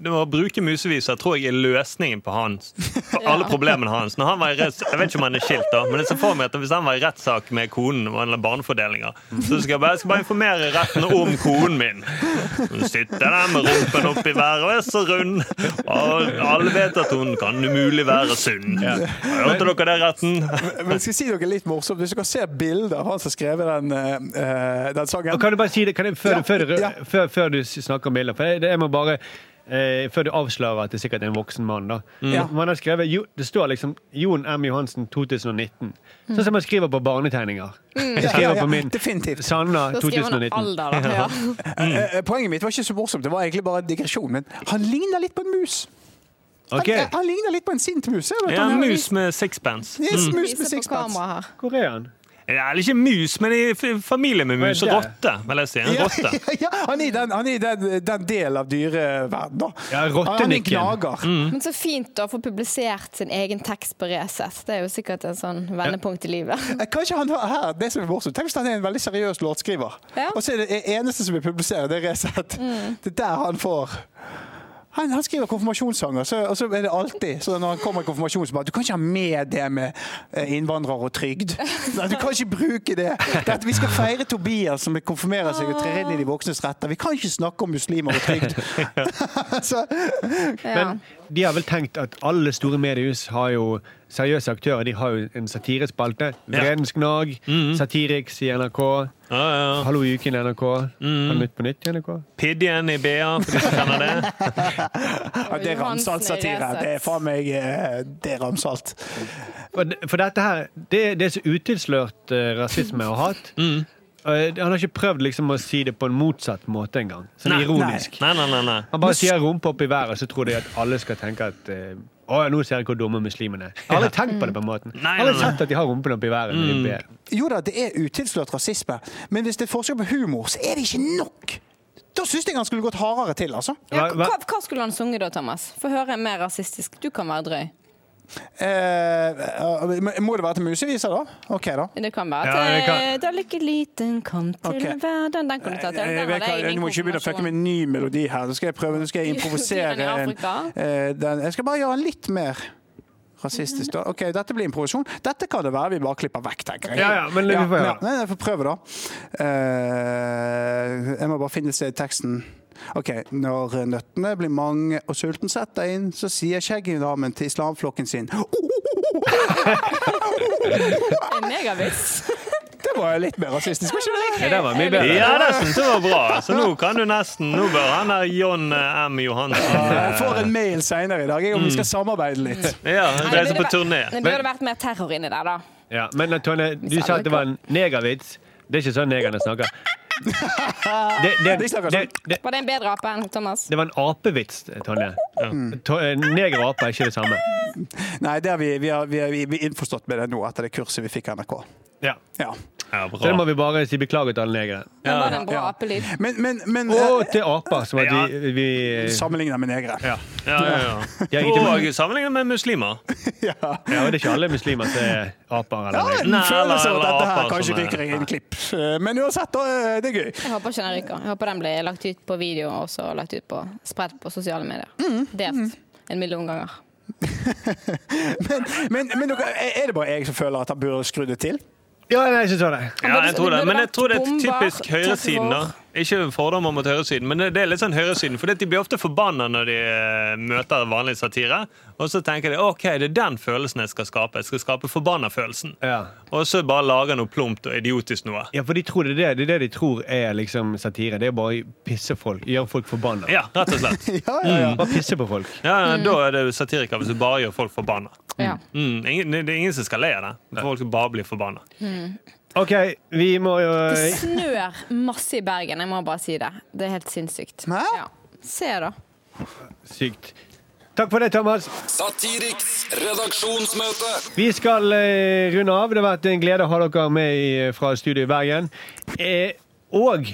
[SPEAKER 2] med å bruke museviser tror jeg er løsningen på hans. På alle problemene hans. Når han var i retts, jeg vet ikke om han er skilt, da, men jeg ser for meg at hvis han var i rettssak med konen og eller barnefordelinger, så skal jeg bare, jeg skal bare informere retten om konen min. Hun sitter der med rumpen opp i været og er så rund. Og alle vet at hun kan umulig være sunn. Hørte dere det, retten?
[SPEAKER 1] Men jeg skal si noe litt morsomt. Hvis dere ser bildet av han som har skrevet den, eh, den sangen
[SPEAKER 4] Og kan du bare si det kan jeg, før,
[SPEAKER 1] Ja,
[SPEAKER 4] du- før, du-
[SPEAKER 1] ja.
[SPEAKER 4] før, før du s- snakker om bilder? For jeg, jeg må bare eh, Før du avslører at det sikkert er en voksen mann, da.
[SPEAKER 1] Ja.
[SPEAKER 4] Man har skrevet, jo, det står liksom Jon M. Johansen 2019. Sånn som man skriver på barnetegninger. Jeg
[SPEAKER 1] Ja, ja,
[SPEAKER 4] skriver
[SPEAKER 1] ja,
[SPEAKER 4] på min
[SPEAKER 1] definitivt.
[SPEAKER 4] Sanna
[SPEAKER 5] Da skriver han
[SPEAKER 4] 2019.
[SPEAKER 5] alder, da. Ja.
[SPEAKER 1] Eh, eh, Poenget mitt var ikke så morsomt, det var egentlig bare en digresjon. Men han ligner litt på en mus. Han,
[SPEAKER 4] OK.
[SPEAKER 1] eh, han ligner litt på en sint mus. Jeg vet
[SPEAKER 2] Ja,
[SPEAKER 1] han
[SPEAKER 2] en
[SPEAKER 1] har-
[SPEAKER 2] mus med sixpence.
[SPEAKER 4] Mm.
[SPEAKER 1] Yes, mus med
[SPEAKER 5] Viser på
[SPEAKER 1] sixpence.
[SPEAKER 5] kamera her.
[SPEAKER 4] Hvor er han?
[SPEAKER 2] Ja, eller ikke mus, men i f- familie med mus.
[SPEAKER 4] Hva er det?
[SPEAKER 2] Rotte, vil jeg si. En
[SPEAKER 1] Ja,
[SPEAKER 2] rotte.
[SPEAKER 1] ja, ja, han er i den, han er i den, den delen av dyreverdenen, da.
[SPEAKER 4] Ja,
[SPEAKER 1] Han- han er en
[SPEAKER 4] rottenikken.
[SPEAKER 1] gnager.
[SPEAKER 5] Men så fint å få publisert sin egen tekst på Resett. Det er jo sikkert en sånn vendepunkt i livet.
[SPEAKER 1] Eh, Kanskje han var her, det som er morsomt. Tenk hvis han er en veldig seriøs låtskriver.
[SPEAKER 5] Ja.
[SPEAKER 1] Og så er det det eneste som blir publisert, det er Resett. Det er der han får han, han skriver konfirmasjonssanger, så, og så er det alltid sånn når han kommer i konfirmasjon så bare, Du kan ikke ha med det med eh, innvandrere og trygd. Nei, du kan ikke bruke det. Dette, vi skal feire Tobias som konfirmerer seg og trer inn i de voksnes retter. Vi kan ikke snakke om muslimer og trygd. så,
[SPEAKER 5] Ja.
[SPEAKER 4] Men de har vel tenkt at alle store mediehus har jo seriøse aktører. De har jo en satirespalte. Vredens Gnag, Satiriks i NRK,
[SPEAKER 2] Ja, Mhm. ja. Mhm.
[SPEAKER 4] Hallo i uken i NRK, Har Nytt på nytt i NRK.
[SPEAKER 2] Pidjen i BA, for de som kjenner det.
[SPEAKER 1] ja, det er ramsalt satire. Det er faen meg eh, Det er ramsalt.
[SPEAKER 4] For, for dette her, det, det er så utilslørt eh, rasisme og hat.
[SPEAKER 2] Mhm.
[SPEAKER 4] Eh, han har ikke prøvd liksom å si det på en motsatt måte engang. Sånn
[SPEAKER 2] Nei,
[SPEAKER 4] ironisk.
[SPEAKER 2] Nei, nei, nei. nei.
[SPEAKER 4] Han bare sier rumpe opp i været, så tror de at alle skal tenke at eh, å, ja, nå ser jeg hvor dumme muslimene er. Jeg har aldri tenkt på det på den måten. Jeg
[SPEAKER 2] Mm. Nei,
[SPEAKER 4] har
[SPEAKER 2] nei,
[SPEAKER 4] aldri
[SPEAKER 2] Mm. nei.
[SPEAKER 4] sett at de har rumpen opp i været. når de ber.
[SPEAKER 1] Jo da, det er utilslørt rasisme, men hvis det er forskjell på humor, så er det ikke nok! Da syns jeg han skulle gått hardere til, altså.
[SPEAKER 5] Ja,
[SPEAKER 4] Hva-
[SPEAKER 5] hva,
[SPEAKER 4] hva-
[SPEAKER 5] hva skulle han sunget da, Thomas? Få høre mer rasistisk. Du kan være drøy.
[SPEAKER 1] Eh, men må det være til museviser, da? OK, da.
[SPEAKER 5] Det kan være
[SPEAKER 4] Ja,
[SPEAKER 5] at
[SPEAKER 4] det kan-
[SPEAKER 5] eh, Da lykke liten kom til
[SPEAKER 1] Ok.
[SPEAKER 5] verden. Den kunne du tatt. Den,
[SPEAKER 1] Jeg
[SPEAKER 5] den hadde
[SPEAKER 1] vet
[SPEAKER 5] jeg i
[SPEAKER 1] hva, Du
[SPEAKER 5] min
[SPEAKER 1] må ikke begynne å fucke med
[SPEAKER 5] konfirmasjon.
[SPEAKER 1] en ny melodi her. Nå skal jeg prøve, nå skal jeg improvisere.
[SPEAKER 5] Dyrene i
[SPEAKER 1] En,
[SPEAKER 5] Afrika.
[SPEAKER 1] eh, den. Jeg skal bare gjøre den litt mer rasistisk, da. OK, dette blir improvisasjon. Dette kan det være vi bare klipper vekk, tenker jeg.
[SPEAKER 4] Ja, ja, men vi får høre.
[SPEAKER 1] Nei, jeg får prøve, da. Eh, jeg må bare finne et sted i teksten. OK. Når nøttene blir mange og sulten setter inn, så sier skjeggdamen til islamflokken sin "Oh,
[SPEAKER 5] En megavits.
[SPEAKER 1] Det var litt mer rasistisk, var ikke det?
[SPEAKER 4] Ja, det var mye bedre.
[SPEAKER 2] Ja, det synes jeg var bra. Så nå kan du nesten Nå bør han der John eh, M. Johansen
[SPEAKER 1] Jeg får en mail seinere i dag jeg, om vi skal samarbeide litt.
[SPEAKER 2] Ja,
[SPEAKER 5] Nei,
[SPEAKER 2] reise
[SPEAKER 5] det
[SPEAKER 2] på
[SPEAKER 5] burde vært-
[SPEAKER 2] turné.
[SPEAKER 5] Det burde vært mer terror inni der, da.
[SPEAKER 4] Ja, men eh, Tone, du sa at det var en negervits. Det er ikke sånn negerne snakker. Det, det,
[SPEAKER 1] De snakker
[SPEAKER 4] det,
[SPEAKER 1] sånn.
[SPEAKER 4] det,
[SPEAKER 5] Var det en bedre ape enn Thomas?
[SPEAKER 4] det var en apevits, Tonje.
[SPEAKER 1] Mm.
[SPEAKER 4] To- eh, Neger og ape er ikke det samme.
[SPEAKER 1] Nei, det er vi, vi, har, vi, er, vi er innforstått med det nå etter det kurset vi fikk av NRK.
[SPEAKER 4] Ja.
[SPEAKER 1] Ja.
[SPEAKER 2] Ja,
[SPEAKER 4] Så da
[SPEAKER 2] bra.
[SPEAKER 4] må vi bare si beklager til alle negere.
[SPEAKER 5] Men var det en bra
[SPEAKER 1] Ja.
[SPEAKER 5] apelyd?
[SPEAKER 1] Men, men, men
[SPEAKER 4] Og
[SPEAKER 1] eh,
[SPEAKER 4] til aper, som at vi, vi
[SPEAKER 1] Sammenlignet med negre.
[SPEAKER 4] ja.
[SPEAKER 2] Ja, ja,
[SPEAKER 4] Ja,
[SPEAKER 2] ja.
[SPEAKER 4] ikke
[SPEAKER 2] Og
[SPEAKER 4] det-
[SPEAKER 2] sammenlignet med muslimer.
[SPEAKER 4] ja, og det er ikke alle muslimer som er aper eller
[SPEAKER 1] Ja,
[SPEAKER 4] negere.
[SPEAKER 1] en
[SPEAKER 2] Nei,
[SPEAKER 1] følelse av
[SPEAKER 2] eller-
[SPEAKER 1] at dette her
[SPEAKER 2] eller aper
[SPEAKER 1] kanskje
[SPEAKER 2] som er-
[SPEAKER 1] dykker i en klipp. Eh, Men uansett, da, eh, det er gøy.
[SPEAKER 5] Jeg håper ikke den ryker. Jeg håper den blir lagt ut på video og så lagt ut på spredt på sosiale medier.
[SPEAKER 1] Mm.
[SPEAKER 5] Delt en million ganger.
[SPEAKER 1] Men, men, men dere, er det bare jeg som føler at han burde skru det til?
[SPEAKER 4] Ja, nei, jeg synes det.
[SPEAKER 2] Ja, jeg tror det. Men jeg tror det er
[SPEAKER 5] Bomber,
[SPEAKER 2] typisk høyresiden. da. Ikke fordommer mot høyresiden, men det det er litt sånn høyresiden. For de blir ofte forbanna når de eh, møter vanlig satire. Og så tenker de ok, det er den følelsen jeg skal skape. Jeg skal skape forbanna-følelsen.
[SPEAKER 4] Ja.
[SPEAKER 2] Og så bare lage noe plumpt og idiotisk noe.
[SPEAKER 4] ja, for de tror det er det. Det er det de tror er liksom satire. Det er bare å pisse folk, gjøre folk forbanna.
[SPEAKER 2] Ja, rett og slett.
[SPEAKER 1] Ja, ja, ja.
[SPEAKER 4] Bare pisse på folk.
[SPEAKER 2] Ja, Da er det satiriker hvis du bare gjør folk forbanna.
[SPEAKER 5] Ja.
[SPEAKER 2] Mm, ingen, det er ingen som skal le av det. Folk skal bare bli forbanna.
[SPEAKER 4] OK, vi må jo
[SPEAKER 5] Det snør masse i Bergen, jeg må bare si det. Det er helt sinnssykt.
[SPEAKER 1] Hæ?
[SPEAKER 5] Ja. Se, da.
[SPEAKER 4] Sykt. Takk for det, Thomas.
[SPEAKER 3] Satiriks redaksjonsmøte.
[SPEAKER 4] Vi skal eh, runde av. Det har vært en glede å ha dere med i, fra studio i Bergen. Eh, og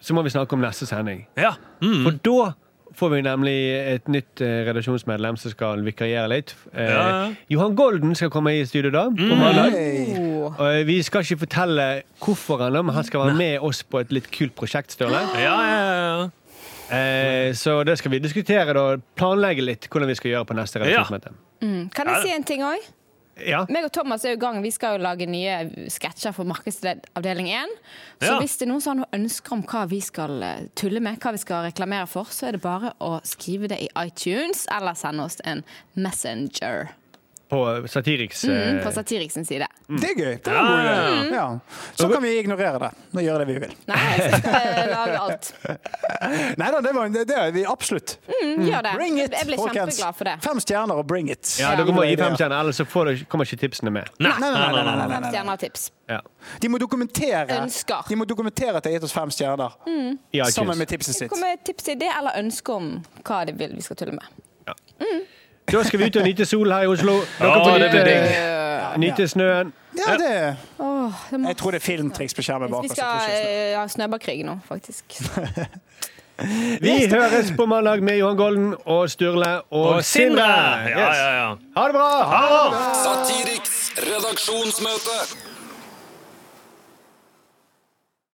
[SPEAKER 4] så må vi snakke om neste sending.
[SPEAKER 2] Ja. Mm.
[SPEAKER 4] For da får vi nemlig et nytt eh, redaksjonsmedlem som skal vikariere litt. Eh,
[SPEAKER 2] Ja, Mm. ja.
[SPEAKER 4] Johan Golden skal komme i studio da. På mandag.
[SPEAKER 1] Hei.
[SPEAKER 5] Oh.
[SPEAKER 4] Og, eh, vi skal ikke fortelle hvorfor han er, men han skal være med oss på et litt kult prosjekt, Sturle.
[SPEAKER 2] Ja, ja,
[SPEAKER 4] Eh, så det skal vi diskutere da. Planlegge litt hvordan vi skal gjøre på neste redaksjonsmøte.
[SPEAKER 5] Mm. Kan jeg si en ting òg?
[SPEAKER 4] Ja.
[SPEAKER 5] Meg og Thomas er jo i gang. Vi skal jo lage nye sketsjer for Markedsavdeling 1. Så
[SPEAKER 2] Ja.
[SPEAKER 5] hvis det er noen som har noen ønsker om hva vi skal eh, tulle med, hva vi skal reklamere for, så er det bare å skrive det i iTunes eller sende oss en Messenger
[SPEAKER 4] På Satiriks
[SPEAKER 5] mm,
[SPEAKER 4] eh,
[SPEAKER 5] på Satiriks side.
[SPEAKER 1] Det er gøy. Det var en god idé. Ja. Så kan vi ignorere det og gjøre det vi vil.
[SPEAKER 5] Nei, jeg skal lage alt.
[SPEAKER 1] Nei da, det, var, det, det er vi absolutt.
[SPEAKER 5] Mm, gjør det.
[SPEAKER 1] Bring it,
[SPEAKER 5] jeg blir
[SPEAKER 1] folkens.
[SPEAKER 5] kjempeglad for det.
[SPEAKER 1] Fem stjerner og bring it.
[SPEAKER 4] Ja, dere må gi fem stjerner, ellers så får dere, kommer ikke tipsene med.
[SPEAKER 2] Nei,
[SPEAKER 1] Nei, nei, nei, nei, nei, nei, nei.
[SPEAKER 5] Stjerner og tips.
[SPEAKER 4] Ja.
[SPEAKER 1] De må dokumentere
[SPEAKER 5] Ønsker. Mm.
[SPEAKER 1] De må dokumentere at de har gitt oss fem stjerner.
[SPEAKER 4] I iTunes.
[SPEAKER 1] Sammen med tipset sitt.
[SPEAKER 5] Kom med tips, idé eller ønske om hva de vil vi skal tulle med.
[SPEAKER 4] Da skal vi ut og nyte solen her i Oslo. Dere
[SPEAKER 2] Ja,
[SPEAKER 4] får
[SPEAKER 2] det blir
[SPEAKER 4] nyte,
[SPEAKER 2] digg.
[SPEAKER 4] nyte snøen.
[SPEAKER 1] Ja, det
[SPEAKER 5] Åh, Åh, det må...
[SPEAKER 1] Jeg tror det er filmtriks på skjermen bak
[SPEAKER 5] Vi
[SPEAKER 1] oss. jeg
[SPEAKER 5] skal
[SPEAKER 1] tror ikke det
[SPEAKER 5] eh, ha snøballkrig nå, faktisk.
[SPEAKER 4] Vi høres på mandag med Johan Golden og Sturle og, Sindre.
[SPEAKER 2] Ja, ja, ja.
[SPEAKER 4] Ha det bra!
[SPEAKER 3] Satiriks redaksjonsmøte.